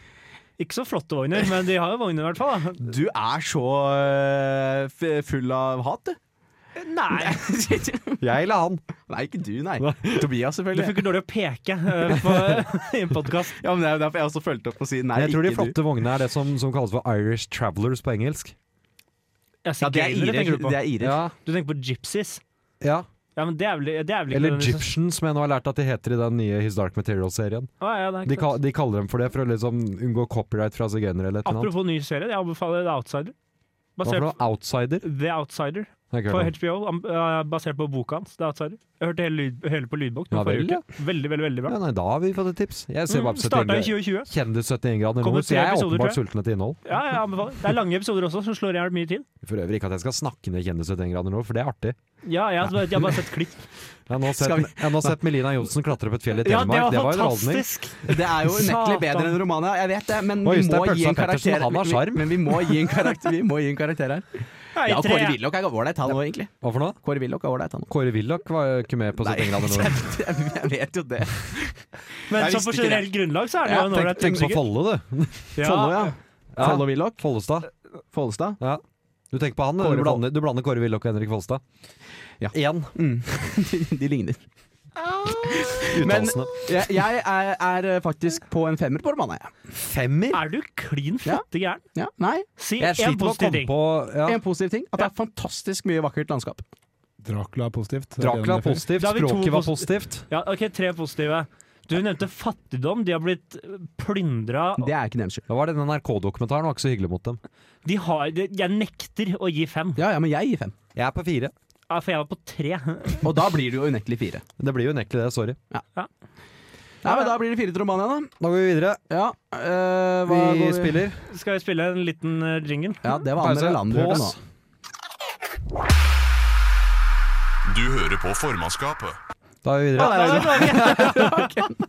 Speaker 5: Ikke så flotte vogner, men de har jo vogner i hvert fall. da.
Speaker 7: Du er så øh, f- full av hat, du.
Speaker 5: Nei,
Speaker 4: Jeg eller han?
Speaker 7: Nei, ikke du, nei.
Speaker 5: det
Speaker 7: Tobias, selvfølgelig.
Speaker 5: funker dårlig å peke eh, på, i en podkast.
Speaker 7: Ja, men Det er jo derfor jeg også fulgte opp og si nei,
Speaker 4: Jeg tror de
Speaker 7: ikke du.
Speaker 4: flotte vognene er det som, som kalles for Irish Travelers på engelsk.
Speaker 7: Ja, det er irer.
Speaker 5: tenker du på.
Speaker 7: Det er irer.
Speaker 4: Ja,
Speaker 5: Du tenker på gypsies?
Speaker 4: ja.
Speaker 5: Ja, men det er vel, det er vel ikke
Speaker 4: Eller
Speaker 5: nødvendigvis-
Speaker 4: Egyptian, som jeg nå har lært at de heter i den nye His Dark Materials-serien.
Speaker 5: Å, ja, det er
Speaker 4: De,
Speaker 5: ikke
Speaker 4: kal-
Speaker 5: sant.
Speaker 4: de kaller dem for det for å liksom unngå copyright fra sigøynere eller et eller annet.
Speaker 5: Apropos ny serie, jeg anbefaler The Outsider.
Speaker 4: Hva for
Speaker 5: Basert
Speaker 4: noe? Outsider?
Speaker 5: The Outsider.
Speaker 4: Det har jeg ikke
Speaker 5: på
Speaker 4: hørt om.
Speaker 5: HBO, am- eh, basert på boka hans. Det er Outsider. Jeg hørte hele, lyd, hele på lydbok nå
Speaker 4: Ja,
Speaker 5: forrige
Speaker 4: vel, ja.
Speaker 5: uke. Veldig, veldig veldig bra.
Speaker 4: Ja, nei, da har vi fått et tips. Jeg ser
Speaker 5: Mm,
Speaker 4: bare på 71
Speaker 5: Starta i
Speaker 4: grader.
Speaker 5: 2020.
Speaker 4: Kjendis 71 grader
Speaker 5: Kommer
Speaker 4: nord, så
Speaker 5: tre
Speaker 4: jeg er
Speaker 5: episoder,
Speaker 4: åpenbart
Speaker 5: tror
Speaker 4: sulten etter innhold.
Speaker 5: Ja, jeg anbefaler. Det er lange episoder også, som slår i hjel mye tid.
Speaker 4: For øvrig ikke at jeg skal snakke ned Kjendis 71 grader nord, for det er artig.
Speaker 5: Ja, jeg, har bare- jeg har bare sett klipp.
Speaker 4: Jeg har nå sett,
Speaker 7: Skal vi-
Speaker 4: jeg har nå sett Melina Johnsen klatre opp et fjell i
Speaker 5: Ja,
Speaker 4: Telemark. det var underholdning.
Speaker 5: fantastisk!
Speaker 7: Det er jo unektelig
Speaker 5: Satan.
Speaker 7: bedre enn Romania, jeg vet det, men
Speaker 4: Og
Speaker 7: vi
Speaker 4: Øystein
Speaker 7: må gi
Speaker 4: Pølsa
Speaker 7: en
Speaker 4: Pettersen,
Speaker 7: karakter.
Speaker 4: han har
Speaker 7: vi-
Speaker 4: charm.
Speaker 7: Men vi må gi en karakter, vi må gi en karakter her.
Speaker 5: Nei,
Speaker 7: Ja, og
Speaker 5: tre-
Speaker 7: Kåre Willoch er ålreit, han òg, egentlig.
Speaker 4: Hva for noe?
Speaker 7: Kåre Willoch er ålreit, han òg.
Speaker 4: Kåre Willoch var ikke med på 71 grader nord.
Speaker 7: jeg, jeg vet jo det.
Speaker 5: Men
Speaker 7: Jeg
Speaker 5: så
Speaker 7: visste
Speaker 5: på
Speaker 7: ikke det.
Speaker 5: generelt grunnlag så er det
Speaker 7: Ja,
Speaker 5: jo en
Speaker 4: Tenk,
Speaker 5: ålreit
Speaker 4: tenk på
Speaker 5: musiker.
Speaker 4: Folle, du.
Speaker 5: Ja.
Speaker 7: Follo, ja.
Speaker 4: Ja.
Speaker 7: Follo Willoch.
Speaker 4: Follestad.
Speaker 7: Follestad.
Speaker 4: Ja. Du tenker på han, eller
Speaker 7: Kåre
Speaker 4: du blander, du blander Kåre Willoch og Henrik Follestad.
Speaker 7: Ja.
Speaker 4: Én.
Speaker 7: Mm. De ligner. Men
Speaker 4: Uttalelsene.
Speaker 7: jeg, jeg er, er eh, faktisk på en femmer på Romania. jeg.
Speaker 4: Femmer?
Speaker 5: Er du klin fette gæren?
Speaker 7: Ja, nei,
Speaker 5: Si
Speaker 4: Jeg sliter
Speaker 5: én
Speaker 4: med å
Speaker 5: positiv
Speaker 4: komme
Speaker 5: ting.
Speaker 4: på ja.
Speaker 7: En positiv ting. At det er fantastisk mye vakkert landskap.
Speaker 6: Dracula er positivt.
Speaker 4: Dracula
Speaker 6: er
Speaker 4: er positivt,
Speaker 5: Da har vi to
Speaker 4: språket var
Speaker 5: posi-
Speaker 4: positivt.
Speaker 5: Ja, ok, Tre positive. Du nevnte fattigdom. De har blitt plyndra.
Speaker 7: Det er ikke deres skyld.
Speaker 4: Da var det den NRK-dokumentaren var ikke så hyggelig mot dem.
Speaker 5: De har, de, jeg nekter å gi fem,
Speaker 7: Ja, ja, men jeg gir fem.
Speaker 4: Jeg er på fire.
Speaker 5: Ja, for jeg var på tre.
Speaker 7: Og da blir det jo unektelig fire.
Speaker 4: Det blir jo unektelig det, sorry.
Speaker 7: Nei, men Da blir det fire til Romania, da.
Speaker 4: Da går vi videre.
Speaker 7: Ja, øh, hva
Speaker 4: Vi
Speaker 7: går
Speaker 4: spiller.
Speaker 5: Skal jeg spille en liten eh, jingle?
Speaker 7: Ja, det var
Speaker 4: Pause.
Speaker 7: andre land du hørte nå.
Speaker 4: Pause.
Speaker 1: Du hører på formannskapet.
Speaker 4: Da er vi
Speaker 5: Ja,
Speaker 4: videre.
Speaker 5: da er vi tilbake.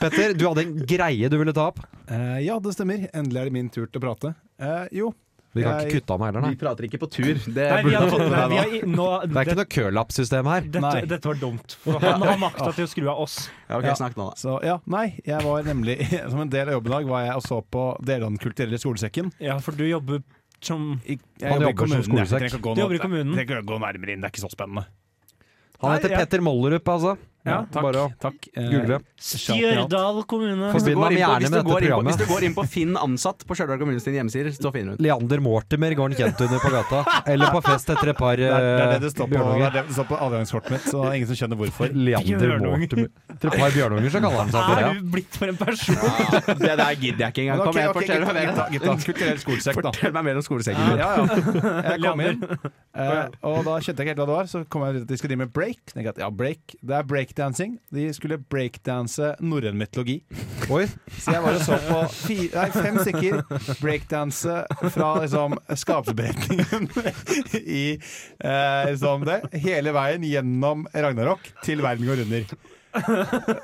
Speaker 4: Petter, du hadde en greie du ville ta opp.
Speaker 6: Eh, ja, det stemmer. Endelig er det min tur til å prate. Eh, jo.
Speaker 4: Vi kan ikke
Speaker 6: Jeg-
Speaker 4: kutte av meg heller,
Speaker 7: Vi
Speaker 4: nei.
Speaker 7: prater ikke på tur. Det
Speaker 5: Nei, vi
Speaker 7: burde
Speaker 5: har
Speaker 7: du
Speaker 5: fått
Speaker 7: fått
Speaker 5: nei,
Speaker 7: med deg
Speaker 5: vi
Speaker 7: nå.
Speaker 5: har, i- nå,
Speaker 4: Det er ikke
Speaker 5: det,
Speaker 4: noe curl-up-system her.
Speaker 6: Nei.
Speaker 5: dette, dette var dumt. For han har makta til å skru av oss.
Speaker 7: Ja, ok,
Speaker 6: Ja.
Speaker 7: snakk nå, da.
Speaker 6: Så ja, nei. Jeg var nemlig Som en del av jobben i dag var jeg og så på deler av Den kulturelle skolesekken.
Speaker 5: Ja, for du jobber som
Speaker 6: I- Jeg
Speaker 4: Han
Speaker 6: jobber i
Speaker 4: jobber som
Speaker 6: kommunen, jeg
Speaker 4: skolesekk.
Speaker 6: trenger ikke å gå
Speaker 5: Du
Speaker 6: nå-
Speaker 5: jobber i kommunen.
Speaker 6: Jeg trenger ikke å gå nærmere inn, det er ikke så spennende.
Speaker 4: Han heter
Speaker 5: Nei, ja.
Speaker 4: Petter Mollerup, altså.
Speaker 5: Ja,
Speaker 6: takk.
Speaker 4: Bare å
Speaker 6: Takk. Eh,
Speaker 4: google.
Speaker 5: Stjørdal kommune.
Speaker 4: Forbi-
Speaker 7: Hvis du
Speaker 4: Forbind
Speaker 7: går
Speaker 4: ham
Speaker 7: inn på-
Speaker 4: gjerne med dette
Speaker 7: hvis du går inn på-
Speaker 4: programmet.
Speaker 7: Hvis du går inn på Finn ansatt på Stjørdal kommunes hjemmesider, så finner du den.
Speaker 4: Leander Mortimer går en kjent under på gata. Eller på fest etter et par
Speaker 6: Det er, det er
Speaker 4: eh,
Speaker 6: det det står på, det er
Speaker 4: bjørnunger.
Speaker 6: det det står på adgangskortet mitt, så det er ingen som skjønner hvorfor.
Speaker 4: Leander
Speaker 5: Bjørnunger.
Speaker 4: Mortimer. Etter et par bjørnunger, så kaller han seg for
Speaker 5: Er
Speaker 4: det.
Speaker 5: du blitt for en person?
Speaker 7: Det der gidder jeg ikke engang.
Speaker 6: Men
Speaker 7: Kom
Speaker 6: ok,
Speaker 7: igjen,
Speaker 6: ok,
Speaker 7: fortell meg
Speaker 6: gutta,
Speaker 7: mer.
Speaker 6: gutta, gutta. Kulturell skolesekk, da.
Speaker 7: Fortell meg mer om skolesekken din.
Speaker 6: Ja, ja. Jeg kom inn, eh, og da skjønte jeg ikke helt hva det var. Så kom jeg ut at de skulle drive med break. Tenkte jeg at, ja, break, Det er breakdancing. De skulle breakdanse norrøn mytologi.
Speaker 4: Oi.
Speaker 6: Så jeg var og så på fi- nei, fem stykker breakdanse fra liksom, skapelsesberetningen i eh, liksom det, hele veien gjennom Ragnarok til verden går under.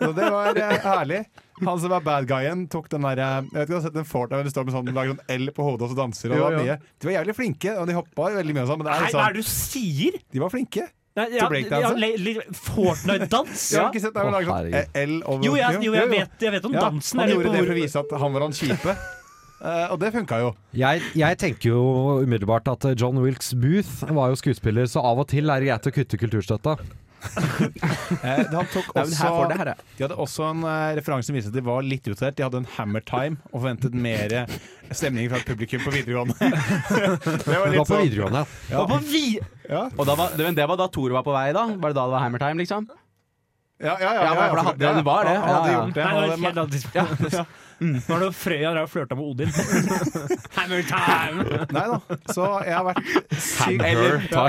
Speaker 6: Så det var eh, herlig. Han som var bad guyen, tok den der eh, Jeg vet ikke, om du har sett den Fortnite hvor du står med sånn, lager sånn L på hodet og så danser. Og det var
Speaker 7: Jo, jo.
Speaker 6: mye. De var jævlig flinke, og de hoppa veldig mye og sånn, men det er
Speaker 5: Nei, hva er det
Speaker 6: liksom,
Speaker 5: du sier?
Speaker 6: de var flinke.
Speaker 5: Nei, ja,
Speaker 6: breakdance?
Speaker 5: ja, le- le- Fortnite-dans?
Speaker 6: Jeg har ikke sett deg lage sånn
Speaker 4: Å, herregud.
Speaker 6: eh, L over
Speaker 5: Jo, jeg, jo, jeg, vet, jeg vet om
Speaker 6: Ja,
Speaker 5: dansen.
Speaker 6: Han
Speaker 5: jeg
Speaker 6: gjorde
Speaker 5: lurer
Speaker 6: det
Speaker 5: på
Speaker 6: for å
Speaker 5: hvor-
Speaker 6: vise at han var han kjipe. Eh, og det funka jo.
Speaker 4: Jeg, jeg tenker jo umiddelbart at eh, John Wilkes Booth var jo skuespiller, så av og til er det greit å kutte kulturstøtta.
Speaker 6: Eh, han tok
Speaker 7: Nei, men her får det
Speaker 6: også,
Speaker 7: her, ja.
Speaker 6: de hadde også en eh, referanse som viste at de var litt utdatert. De hadde en hammer time og forventet mer eh, stemning fra et publikum på videregående. det var
Speaker 4: Det var
Speaker 6: litt
Speaker 4: på
Speaker 6: sånn
Speaker 4: videregående.
Speaker 6: ja.
Speaker 5: Og på vi-
Speaker 6: Ja,
Speaker 7: Og da var, men det var da Tor var på vei, da? Var det da det var hammer time, liksom?
Speaker 6: ja, ja.
Speaker 7: Ja, for det hadde- det var det.
Speaker 6: Han hadde
Speaker 7: Ja, ja.
Speaker 6: gjort det.
Speaker 5: Nei,
Speaker 6: Han
Speaker 5: det var et
Speaker 6: hadde,
Speaker 5: helt annet tidspunkt. Mm. Nå er det Frøya der og flørta med Odin. Hammer time!
Speaker 6: nei da. Så jeg har vært sykt
Speaker 7: Eller,
Speaker 5: Ja,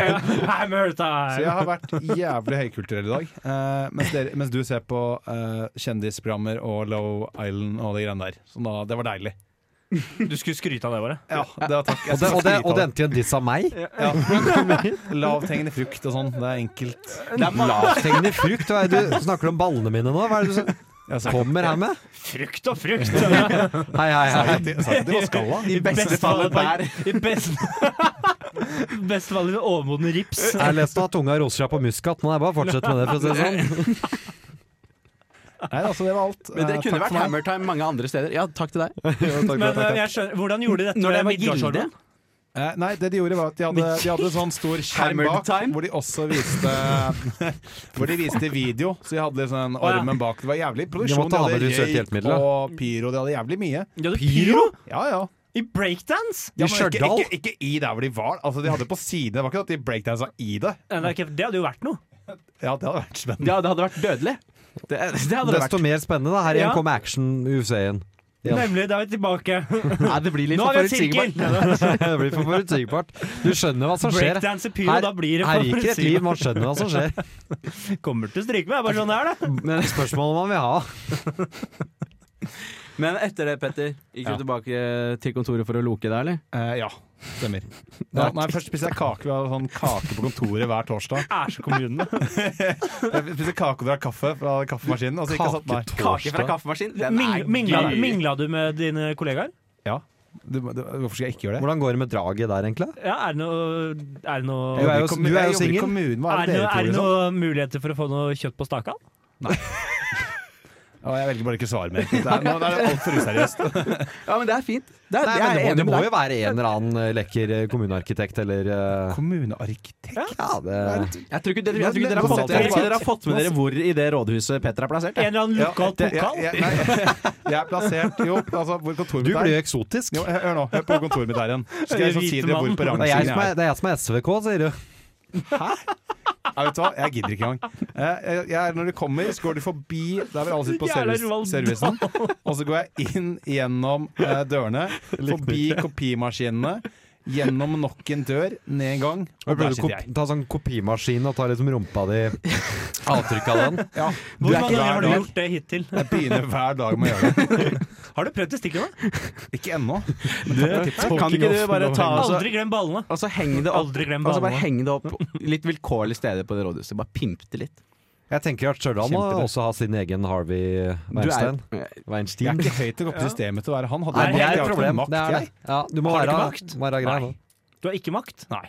Speaker 5: Hammer
Speaker 6: Så jeg
Speaker 5: time!
Speaker 6: har vært jævlig høykulturell i dag. Eh, mens, dere, mens du ser på eh, kjendisprogrammer og Low Island og de greiene der. Så da, det var deilig.
Speaker 5: Du skulle skryte av det, bare.
Speaker 6: Ja, det var takk.
Speaker 4: Og det, og det, og det endte i en diss av meg.
Speaker 6: Lavthengende frukt og sånn. Det er enkelt.
Speaker 4: Lavthengende frukt. Hva er det du snakker om ballene mine nå? Hva er det du så-
Speaker 6: Jeg sa ikke-
Speaker 4: kommer her med?
Speaker 5: Frukt og frukt!
Speaker 4: Hei, hei, hei.
Speaker 6: jeg sa ikke det var skalla.
Speaker 7: I beste fall et bær.
Speaker 5: I beste, beste fall en overmoden rips.
Speaker 4: Jeg leste at tunga roser seg på muskat. Nå er det bare å fortsette med det. for å si det sånn
Speaker 6: Nei, altså, det var alt.
Speaker 7: Men
Speaker 6: Eh,
Speaker 7: det kunne
Speaker 6: takk for
Speaker 7: vært
Speaker 6: meg.
Speaker 7: hammer time mange andre steder. Ja, takk til deg.
Speaker 5: Men eh, jeg skjønner, hvordan gjorde de dette
Speaker 7: Når det
Speaker 5: med
Speaker 7: var
Speaker 5: Midgardsormen?
Speaker 7: gilde.
Speaker 6: Eh, nei, det de gjorde var at de hadde, de hadde en sånn stor skjerm
Speaker 7: Hammered
Speaker 6: bak,
Speaker 7: time?
Speaker 6: hvor de også viste Hvor de viste video. Så de hadde liksom den
Speaker 5: Å, ja.
Speaker 6: ormen bak. Det var jævlig produksjon.
Speaker 4: måtte ha med visuelt hjelpemiddel, da.
Speaker 6: og pyro. De hadde jævlig mye.
Speaker 5: De hadde pyro
Speaker 6: Ja, ja.
Speaker 5: i breakdance!
Speaker 4: I
Speaker 6: Ja, men ikke,
Speaker 4: Stjørdal?
Speaker 6: ikke, ikke i der hvor de var. Altså, de hadde på siden. Det var ikke at de breakdansa i det.
Speaker 5: Nei, det er ikke- det hadde jo vært noe.
Speaker 6: Ja, det hadde vært spennende.
Speaker 7: Ja, det hadde vært dødelig. Det, det hadde det vært.
Speaker 4: Desto mer spennende. da Her igjen
Speaker 5: Ja.
Speaker 4: kommer action-UFC-en.
Speaker 5: Nemlig, da er vi tilbake.
Speaker 7: Nei, det blir litt
Speaker 5: Nå
Speaker 7: for
Speaker 5: har vi en sirkel!
Speaker 7: forutsigbart.
Speaker 4: det blir for forutsigbart. Du skjønner hva som skjer.
Speaker 5: Breakdance i pyro,
Speaker 4: Her,
Speaker 5: da blir det
Speaker 4: her ryker et liv, man skjønner hva som skjer.
Speaker 5: Kommer til å stryke meg, det er bare sånn det er, da.
Speaker 4: Men spørsmålet man vil ha
Speaker 7: Men etter det, Petter, gikk du
Speaker 6: Ja.
Speaker 7: tilbake eh, til kontoret for å loke deg, eller?
Speaker 6: Eh, ja, stemmer. Nå, nei, først spiser jeg kake. Vi har sånn kake på kontoret hver torsdag.
Speaker 5: Æsjekommunene.
Speaker 6: Jeg spiser kake og drakk kaffe fra kaffemaskinen. Og så gikk jeg og satt meg.
Speaker 7: Kake fra kaffemaskin? Den er
Speaker 5: Ming- Mingla,
Speaker 7: gøy.
Speaker 5: mingla du med dine kollegaer?
Speaker 6: Ja. Du, du, hvorfor skal jeg ikke gjøre det?
Speaker 4: Hvordan går det med draget der, egentlig?
Speaker 5: Ja, er det noe, er det noe
Speaker 4: Du er jo-
Speaker 6: Jeg jobber i kommu-
Speaker 4: du er jo
Speaker 6: jeg jobber i
Speaker 4: singel.
Speaker 6: kommunen, Hva
Speaker 5: er
Speaker 6: er
Speaker 5: det,
Speaker 6: det
Speaker 5: noe-
Speaker 6: dere
Speaker 5: er
Speaker 6: tror?
Speaker 5: det
Speaker 6: Liksom?
Speaker 5: noen muligheter for å få noe kjøtt på stakan?
Speaker 6: Å, jeg velger bare ikke å svare mer. Det er, nå er det altfor useriøst.
Speaker 7: Ja, men det er fint. Det er,
Speaker 4: Nei,
Speaker 7: jeg
Speaker 4: men det,
Speaker 7: er
Speaker 4: må, det
Speaker 7: enig
Speaker 4: må
Speaker 7: med
Speaker 4: jo
Speaker 7: deg.
Speaker 4: være en eller annen eh, lekker eh, kommunearkitekt eller eh,
Speaker 6: Kommunearkitekt?
Speaker 4: Ja, det
Speaker 7: Jeg tror ikke dere, jeg tror ikke dere,
Speaker 6: Men-
Speaker 7: har,
Speaker 6: men-
Speaker 7: fått, jeg tror ikke dere har fått med dere hvor i det rådhuset Petter er plassert.
Speaker 5: En
Speaker 7: jeg.
Speaker 5: eller annen
Speaker 6: Ja,
Speaker 5: lokal
Speaker 6: det-
Speaker 5: pokal?
Speaker 6: Jeg, jeg, nei, jeg er plassert Jo, altså, hvor kontoret
Speaker 4: Du
Speaker 6: mitt
Speaker 4: blir jo
Speaker 6: er.
Speaker 4: eksotisk.
Speaker 6: Jo, hør- hør nå. Hør på kontoret mitt her igjen. Skal jeg så si dere hvor på
Speaker 5: Hvite
Speaker 4: Det
Speaker 5: mannen.
Speaker 4: er, jeg
Speaker 6: rangstigen
Speaker 4: som
Speaker 6: jeg
Speaker 4: er,
Speaker 6: er?
Speaker 4: det er jeg som er SVK, sier du.
Speaker 6: Ja, vet du hva? Jeg gidder ikke engang. Eh, Jeg, jeg, er- når du kommer, så går du forbi Der vil alle sitte på
Speaker 5: Jævla
Speaker 6: service,
Speaker 5: Roald
Speaker 6: servicen. Og så går jeg inn gjennom eh, dørene, forbi kopimaskinene, gjennom nok en dør, ned en gang, og der
Speaker 4: Prøver du å
Speaker 6: sitter jeg.
Speaker 4: kop- ta sånn kopimaskin og ta liksom rumpa di Avtrykk av den.
Speaker 6: Ja,
Speaker 5: Hvor mange
Speaker 6: er ikke
Speaker 5: ganger har du
Speaker 6: hver dag.
Speaker 5: gjort det hittil?
Speaker 6: Jeg begynner hver dag med å gjøre det.
Speaker 5: Har du prøvd testiklene?
Speaker 6: Ikke ennå.
Speaker 7: Kan ikke du bare ta og så-
Speaker 5: Aldri glem ballene.
Speaker 7: og så henge Altså, det opp,
Speaker 5: Aldri glem
Speaker 7: og så bare
Speaker 5: ballene.
Speaker 7: henge det opp litt vilkårlige steder på det rådhuset? Bare pimp det litt.
Speaker 4: Jeg tenker at Stjørdal må
Speaker 6: Kjempebra.
Speaker 4: også ha sin egen Harvey
Speaker 7: Du er-
Speaker 4: Weinstein.
Speaker 6: Jeg er
Speaker 4: Weinstein.
Speaker 6: ikke høyt nok opp til systemet til å være han. Hadde
Speaker 4: Nei,
Speaker 6: jeg
Speaker 4: det er
Speaker 6: makt, jeg
Speaker 4: et
Speaker 6: har ikke
Speaker 4: problem.
Speaker 6: makt,
Speaker 4: Det er det.
Speaker 6: jeg.
Speaker 4: Ja, du må
Speaker 5: Har du
Speaker 4: være,
Speaker 5: ikke makt?
Speaker 4: være grei.
Speaker 5: Nei.
Speaker 4: da.
Speaker 5: Du har ikke makt.
Speaker 6: Nei.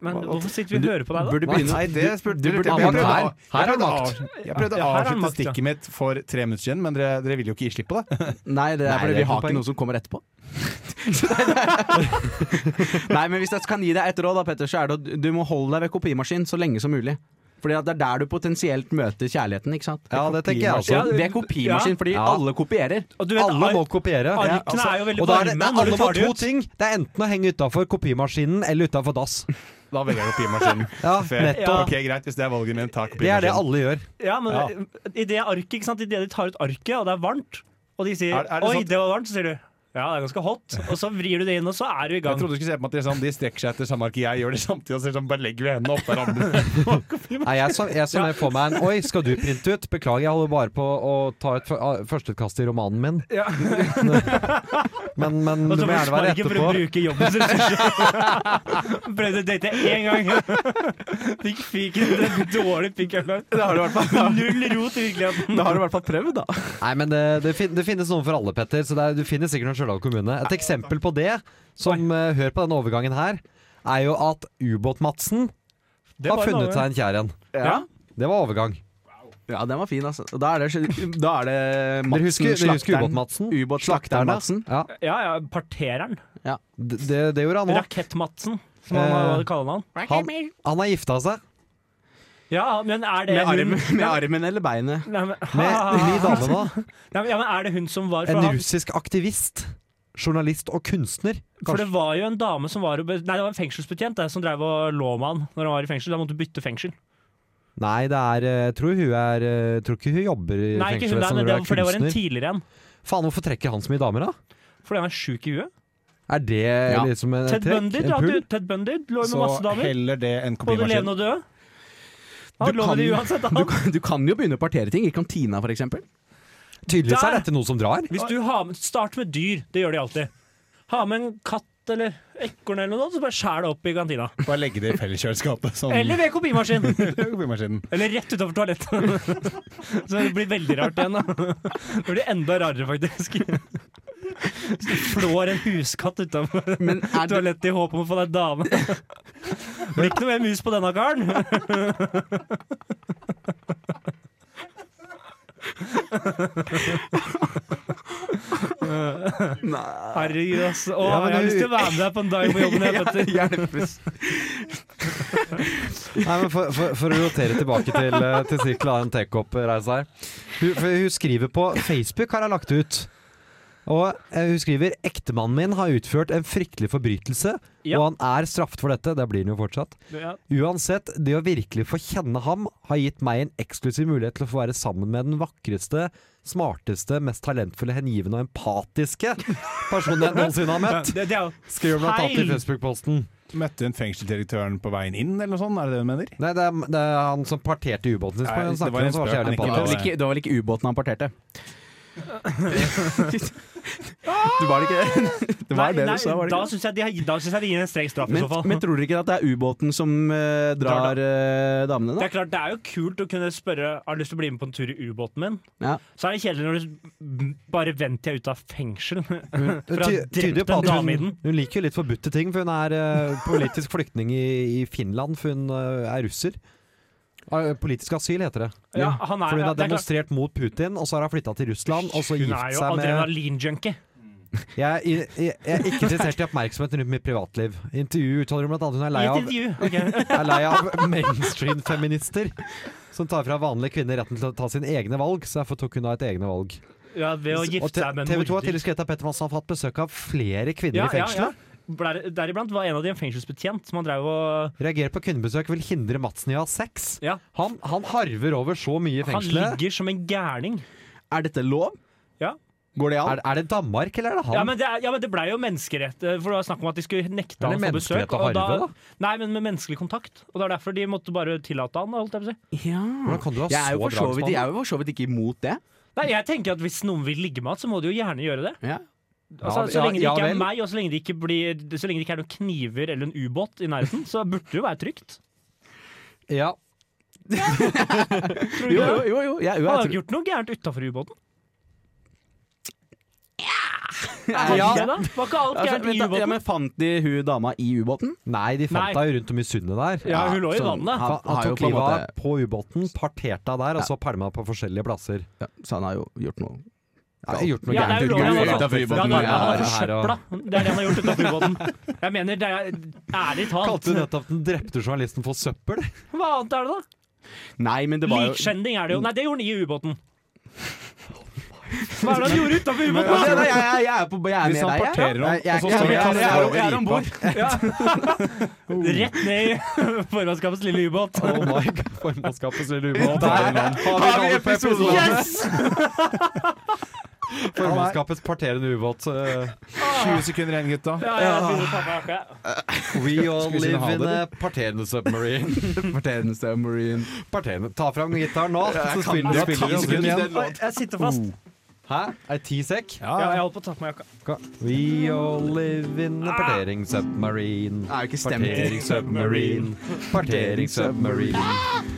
Speaker 5: Men hvorfor sitter vi og hører på deg, da?
Speaker 7: Burde
Speaker 4: Nei,
Speaker 7: begynne
Speaker 6: Nei, det spurte
Speaker 7: du
Speaker 6: dere
Speaker 7: burde-
Speaker 6: til.
Speaker 7: Ja,
Speaker 6: Jeg prøvde
Speaker 7: her-
Speaker 6: å-
Speaker 4: her er
Speaker 6: jeg prøvde å
Speaker 4: makt.
Speaker 6: av- Jeg prøvde
Speaker 5: Ja,
Speaker 6: å
Speaker 5: her er
Speaker 6: avslutte
Speaker 5: makt, ja.
Speaker 6: stikket mitt for tre minutter siden, men dere, dere ville jo ikke gi slipp på det.
Speaker 7: Nei, det er
Speaker 6: Nei,
Speaker 7: fordi
Speaker 6: det
Speaker 7: vi
Speaker 6: er
Speaker 7: har
Speaker 6: godt
Speaker 7: ikke
Speaker 6: poeng.
Speaker 7: noe som kommer etterpå. Så det er- Nei, men hvis jeg kan gi deg et råd, da, Petter, så er det at du må holde deg ved kopimaskin så lenge som mulig. Fordi at det er der du potensielt møter kjærligheten, ikke sant?
Speaker 4: Ja, det tenker jeg også.
Speaker 7: Ja, Ved kopimaskin, fordi
Speaker 4: Ja.
Speaker 7: alle kopierer.
Speaker 5: Og du vet,
Speaker 4: Alle må
Speaker 5: ark-
Speaker 4: kopiere.
Speaker 5: Arkene
Speaker 4: Ja, altså.
Speaker 5: er jo veldig
Speaker 4: Og da er det, det
Speaker 5: varme
Speaker 4: er
Speaker 5: når
Speaker 4: alle
Speaker 5: du
Speaker 4: på
Speaker 5: tar det
Speaker 4: to
Speaker 5: ut.
Speaker 4: ting. Det er enten å henge utafor kopimaskinen eller utafor dass.
Speaker 6: Da velger jeg kopimaskinen.
Speaker 4: Ja,
Speaker 6: Fair.
Speaker 4: nettopp.
Speaker 6: Ok, Greit, hvis det er valget mitt, ta
Speaker 4: Det er det
Speaker 6: kopimaskinen.
Speaker 4: alle gjør.
Speaker 5: Ja, men
Speaker 6: Ja.
Speaker 5: i det arket, ikke sant? I det de tar ut arket, og det er varmt, og de sier
Speaker 6: Er- er det
Speaker 5: 'oi,
Speaker 6: sant?
Speaker 5: det var varmt', så sier du 'ja, det er ganske hot', og så vrir du det inn, og så er du i
Speaker 6: Jeg
Speaker 5: gang.
Speaker 6: trodde du skulle se på meg at de, er sånn, de strekker seg etter samme ark jeg gjør det samtidig. Og så er det sånn, bare legger vi hendene opp hverandre.
Speaker 4: Nei, jeg som, jeg som får meg en Oi, skal du printe ut? Beklager, jeg holder bare på å ta et fø- ah, førsteutkast til romanen min.
Speaker 5: Ja.
Speaker 4: Men, men
Speaker 5: Og
Speaker 4: du må gjerne
Speaker 5: så får du
Speaker 4: være
Speaker 5: sparken for å
Speaker 4: etterpå.
Speaker 5: bruke jobbens ressurser. Prøvde å date én gang. Fikk fiken en dårlig pikk alarm.
Speaker 7: Det har du i hvert fall,
Speaker 5: Null rot i virkeligheten.
Speaker 7: det har du i hvert fall prøvd, da.
Speaker 4: Nei, men det, det, fin det finnes noen for alle, Petter. Så det er, du finner sikkert noen Stjørdal kommune. Et eksempel på det, som eh, hør på denne overgangen her, er jo at Ubåt-Madsen
Speaker 5: Det
Speaker 4: har
Speaker 5: var en
Speaker 4: funnet
Speaker 5: overgang.
Speaker 4: seg en kjær en.
Speaker 5: Ja.
Speaker 4: Det var overgang.
Speaker 7: Ja, den var fin, altså. Og Da er det, da er det Madsen,
Speaker 4: Dere husker, dere husker
Speaker 7: slakteren.
Speaker 4: Ubåt-Madsen?
Speaker 7: Ubåtslakteren Madsen.
Speaker 4: Ja,
Speaker 5: Ja, ja, partereren.
Speaker 4: det, det, det gjorde han òg.
Speaker 5: Rakett-Madsen, som han
Speaker 4: Eh,
Speaker 5: hva det kaller han.
Speaker 4: Han, han har gifta seg
Speaker 5: Ja, men er det
Speaker 7: Med, arm,
Speaker 5: hun
Speaker 7: med armen eller beinet.
Speaker 5: Nei, men,
Speaker 4: med ny dame nå.
Speaker 5: Nei, men- ja, men er det hun som var Ah. for,
Speaker 4: En
Speaker 5: han,
Speaker 4: russisk aktivist, journalist og kunstner.
Speaker 5: for det var jo en dame som var og be- Nei, det var en fengselsbetjent det, som drev og lå med han når han var i fengsel. Da måtte du bytte fengsel.
Speaker 4: Nei, det er eh, Jeg tror hun er eh, Jeg tror ikke hun jobber i
Speaker 5: Nei, ikke hun der,
Speaker 4: fengselsvesenet når
Speaker 5: men
Speaker 4: hun
Speaker 5: det,
Speaker 4: er
Speaker 5: var- for det var en
Speaker 4: kunstner.
Speaker 5: tidligere en.
Speaker 4: Faen, hvorfor trekker han så mye damer, da?
Speaker 5: Fordi han er sjuk i huet.
Speaker 4: Er det liksom en
Speaker 5: Ted
Speaker 4: trekk?
Speaker 5: Bundy,
Speaker 4: En
Speaker 5: drakk
Speaker 4: pull?
Speaker 5: ut. Ted Bundy lå jo med
Speaker 6: Så
Speaker 5: masse damer.
Speaker 6: heller det enn
Speaker 5: Både levende
Speaker 6: kopimaskin.
Speaker 5: og døde. Han
Speaker 7: Du
Speaker 5: lå med de
Speaker 7: kan-
Speaker 5: uansett,
Speaker 7: Du
Speaker 5: han.
Speaker 7: kan, du kan jo begynne å partere ting. I kantina, for eksempel.
Speaker 4: Tydeligvis er
Speaker 5: Der!
Speaker 4: dette noe som drar.
Speaker 5: Hvis du har med, start med dyr, det gjør de alltid. Ha med en katt eller ekorn eller noe, så bare skjær det opp i kantina.
Speaker 6: Bare legge det i felleskjøleskapet. Sånn.
Speaker 5: Eller ved kopimaskinen.
Speaker 6: kopimaskinen.
Speaker 5: Eller rett utover toalettet. Så det blir veldig rart igjen. Da. Det blir enda rarere, faktisk. Hvis du flår en huskatt utenfor
Speaker 7: Men er det,
Speaker 5: toalettet i håp om å få deg dame. Det blir ikke noe mer mus på denne karen. Herregud, altså. Å,
Speaker 4: Ja, men
Speaker 5: jeg har
Speaker 4: du-
Speaker 5: lyst til å være med deg på en dag på jobben. Jeg, Petter.
Speaker 7: Hjelpes.
Speaker 4: Nei, men for, for, for å rotere tilbake til, eh, til sirkel av en takeoff-reise her. Hun, for hun skriver på Facebook, har jeg lagt ut. Og eh, hun skriver ektemannen min har utført en fryktelig forbrytelse,
Speaker 5: Ja.
Speaker 4: og han er straffet for dette. Det blir han jo fortsatt.
Speaker 5: Ja.
Speaker 4: Uansett, det å virkelig få kjenne ham har gitt meg en eksklusiv mulighet til å få være sammen med den vakreste, smarteste, mest talentfulle, hengivende og empatiske personen jeg noensinne har møtt.
Speaker 5: Det, det er jo
Speaker 4: Skriver blant annet i
Speaker 5: Feil!
Speaker 4: Facebook-posten.
Speaker 6: Møtte hun fengselsdirektøren på veien inn, eller noe sånt? Er det det hun mener?
Speaker 4: Nei, det er, det er han som parterte ubåten sin.
Speaker 6: Nei,
Speaker 4: Han
Speaker 6: det var
Speaker 4: snakker
Speaker 6: en
Speaker 4: om som var så
Speaker 6: spøk,
Speaker 4: jævlig
Speaker 6: men ikke
Speaker 7: Det var
Speaker 4: empatisk.
Speaker 7: vel ikke, det var vel ikke ubåten han parterte? Du var det ikke det? Det var det du sa, var
Speaker 5: da
Speaker 7: det ikke? det?
Speaker 5: syns jeg, de har- da synes jeg de gir en streng straff, i
Speaker 7: Men,
Speaker 5: så fall.
Speaker 7: men tror dere ikke at det er ubåten som eh,
Speaker 5: Drar
Speaker 7: drar eh, damene,
Speaker 5: det
Speaker 7: da?
Speaker 5: er klart, det er jo kult å kunne spørre Har du lyst til å bli med på en tur i ubåten min.
Speaker 7: Ja.
Speaker 5: Så er det kjedelig når du s- bare vent til jeg er ute av fengsel. For
Speaker 4: Det
Speaker 5: han
Speaker 4: ty- tyder jo
Speaker 5: drepte
Speaker 4: på
Speaker 5: en
Speaker 4: at
Speaker 5: dame i
Speaker 4: hun,
Speaker 5: den.
Speaker 4: hun liker jo litt forbudte ting, for hun er eh, politisk flyktning i, i Finland, for hun eh, er russer. Eh, Politisk asyl heter det.
Speaker 5: Ja, han er,
Speaker 4: For hun
Speaker 5: ja,
Speaker 4: har
Speaker 5: det er klart,
Speaker 4: demonstrert mot Putin, og så har hun flytta til Russland, og så
Speaker 5: hun er
Speaker 4: gift
Speaker 5: jo
Speaker 4: seg med
Speaker 5: adrenalin-junkie.
Speaker 4: Jeg, er- jeg, jeg er ikke interessert i oppmerksomheten rundt mitt privatliv. I intervju uttaler hun blant annet hun er lei
Speaker 5: I et
Speaker 4: av,
Speaker 5: intervju. ok.
Speaker 4: er lei av mainstream-feminister som tar fra vanlige kvinner retten til å ta sine egne valg, så derfor tok hun da et egne valg.
Speaker 5: Ja, ved å
Speaker 4: Og
Speaker 5: gifte
Speaker 4: te-
Speaker 5: seg med en
Speaker 4: TV 2 har
Speaker 5: morder.
Speaker 4: tidligere skrevet at Pettermann har hatt besøk av flere kvinner
Speaker 5: Ja,
Speaker 4: i
Speaker 5: ja, ja.
Speaker 4: fengselet.
Speaker 5: Der- Deriblant var en av de en fengselsbetjent som han drev og
Speaker 4: Reagerer på kundebesøk, vil hindre Madsen i å ha sex.
Speaker 5: Ja.
Speaker 4: Han, han harver over så mye i
Speaker 5: Han
Speaker 4: fengselet.
Speaker 5: ligger som en gærning.
Speaker 7: Er dette lov?
Speaker 5: Ja.
Speaker 7: Går det an?
Speaker 4: Er, er det Danmark, eller er det han?
Speaker 5: Ja, men det, er- ja, men det blei jo menneskerett eh, For det var snakk om at de skulle nekte
Speaker 4: Er det
Speaker 5: han for
Speaker 4: menneskerett
Speaker 5: besøk.
Speaker 4: å
Speaker 5: og
Speaker 4: harve, da?
Speaker 5: Nei, men med menneskelig kontakt. Og det er derfor de måtte bare tillate han. da, Holdt jeg på å si.
Speaker 7: Ja.
Speaker 4: Hvordan kan du ha
Speaker 7: Jeg er
Speaker 4: så
Speaker 7: jo for så vidt,
Speaker 4: dragsmann?
Speaker 7: jeg er jo for så vidt ikke imot det.
Speaker 5: Nei, jeg tenker at Hvis noen vil ligge med han, så må de jo gjerne gjøre det.
Speaker 7: Ja.
Speaker 5: Altså,
Speaker 4: ja,
Speaker 5: så lenge det
Speaker 4: ja
Speaker 5: ikke er
Speaker 4: vel.
Speaker 5: meg, og så lenge det ikke, blir, så lenge det ikke er noen kniver eller en ubåt i nærheten, så burde det jo være trygt.
Speaker 4: Ja.
Speaker 5: Tror du ikke
Speaker 7: Jo, jo,
Speaker 5: det?
Speaker 7: jo. jo. Jeg,
Speaker 5: Han
Speaker 7: jo jeg
Speaker 5: har
Speaker 7: tror
Speaker 5: ikke gjort noe gærent utafor ubåten.
Speaker 7: Ja.
Speaker 5: Hadde de det? Var ikke alt gærent
Speaker 7: Altså,
Speaker 5: i
Speaker 7: vent da, ja,
Speaker 5: ubåten?
Speaker 7: men Fant de hun dama i ubåten?
Speaker 4: Nei, de fant
Speaker 5: Nei.
Speaker 4: deg jo rundt om i sundet der.
Speaker 5: Ja, hun lå i
Speaker 7: så
Speaker 5: vannet.
Speaker 7: Han,
Speaker 4: Han, han
Speaker 7: har jo
Speaker 4: tok
Speaker 7: på en
Speaker 4: livet av
Speaker 7: måte
Speaker 4: på ubåten, parterte deg der, og så pælma på forskjellige plasser.
Speaker 7: ja, Så han har jo gjort noe
Speaker 4: Ja, gjort noe
Speaker 5: Ja, det er
Speaker 4: gærent.
Speaker 5: jo lov,
Speaker 4: Urgul.
Speaker 5: ja, da.
Speaker 7: utenfor
Speaker 5: Ja,
Speaker 7: ubåten.
Speaker 5: da,
Speaker 4: ja,
Speaker 5: han har
Speaker 4: det her og-
Speaker 5: forsøpla. Det er det han har gjort utenfor ubåten. Jeg mener, det er ærlig talt.
Speaker 4: Kalte du nettopp den drepte journalisten for søppel?
Speaker 5: Hva annet er det, da?
Speaker 7: Nei, men det var jo
Speaker 5: Likskjending er det jo. Nei, det gjorde han i ubåten. Hva er det han gjorde utafor ubåten?
Speaker 7: Nei, nei, jeg, jeg, jeg er på Jeg er
Speaker 6: Hvis
Speaker 7: med
Speaker 6: han
Speaker 7: deg, jeg.
Speaker 6: parterer
Speaker 4: Nei,
Speaker 6: om,
Speaker 4: jeg-
Speaker 6: og så
Speaker 4: jeg-
Speaker 6: står
Speaker 4: jeg-
Speaker 6: han
Speaker 4: jeg- jeg-
Speaker 7: jeg er om bord.
Speaker 5: Ja. Rett ned i formannskapets lille ubåt.
Speaker 4: Oh my god, formannskapets lille ubåt.
Speaker 6: Der
Speaker 4: har vi episoden!
Speaker 5: Yes!
Speaker 4: Formannskapets parterende ubåt. eh,
Speaker 6: 20 sekunder igjen, gutta.
Speaker 5: Ja, jeg begynner å ta meg jakka, jeg.
Speaker 4: We all
Speaker 6: Skulle ikke
Speaker 4: live
Speaker 6: ha
Speaker 4: in
Speaker 6: det,
Speaker 4: a parterende submarine.
Speaker 7: Parterende submarine.
Speaker 4: Parterende. Ta fram gitaren nå, så spiller
Speaker 6: det.
Speaker 4: du spiller
Speaker 6: Ti
Speaker 4: en
Speaker 6: sekunder
Speaker 4: stund igjen.
Speaker 5: Oi, Jeg sitter fast.
Speaker 4: Hæ? Er det ti sekk?
Speaker 5: Ja, jeg holdt på å ta på meg jakka.
Speaker 4: Ka- We all live in a partering submarine.
Speaker 7: Det er jo ikke stemt.
Speaker 4: Partering submarine. Partering submarine.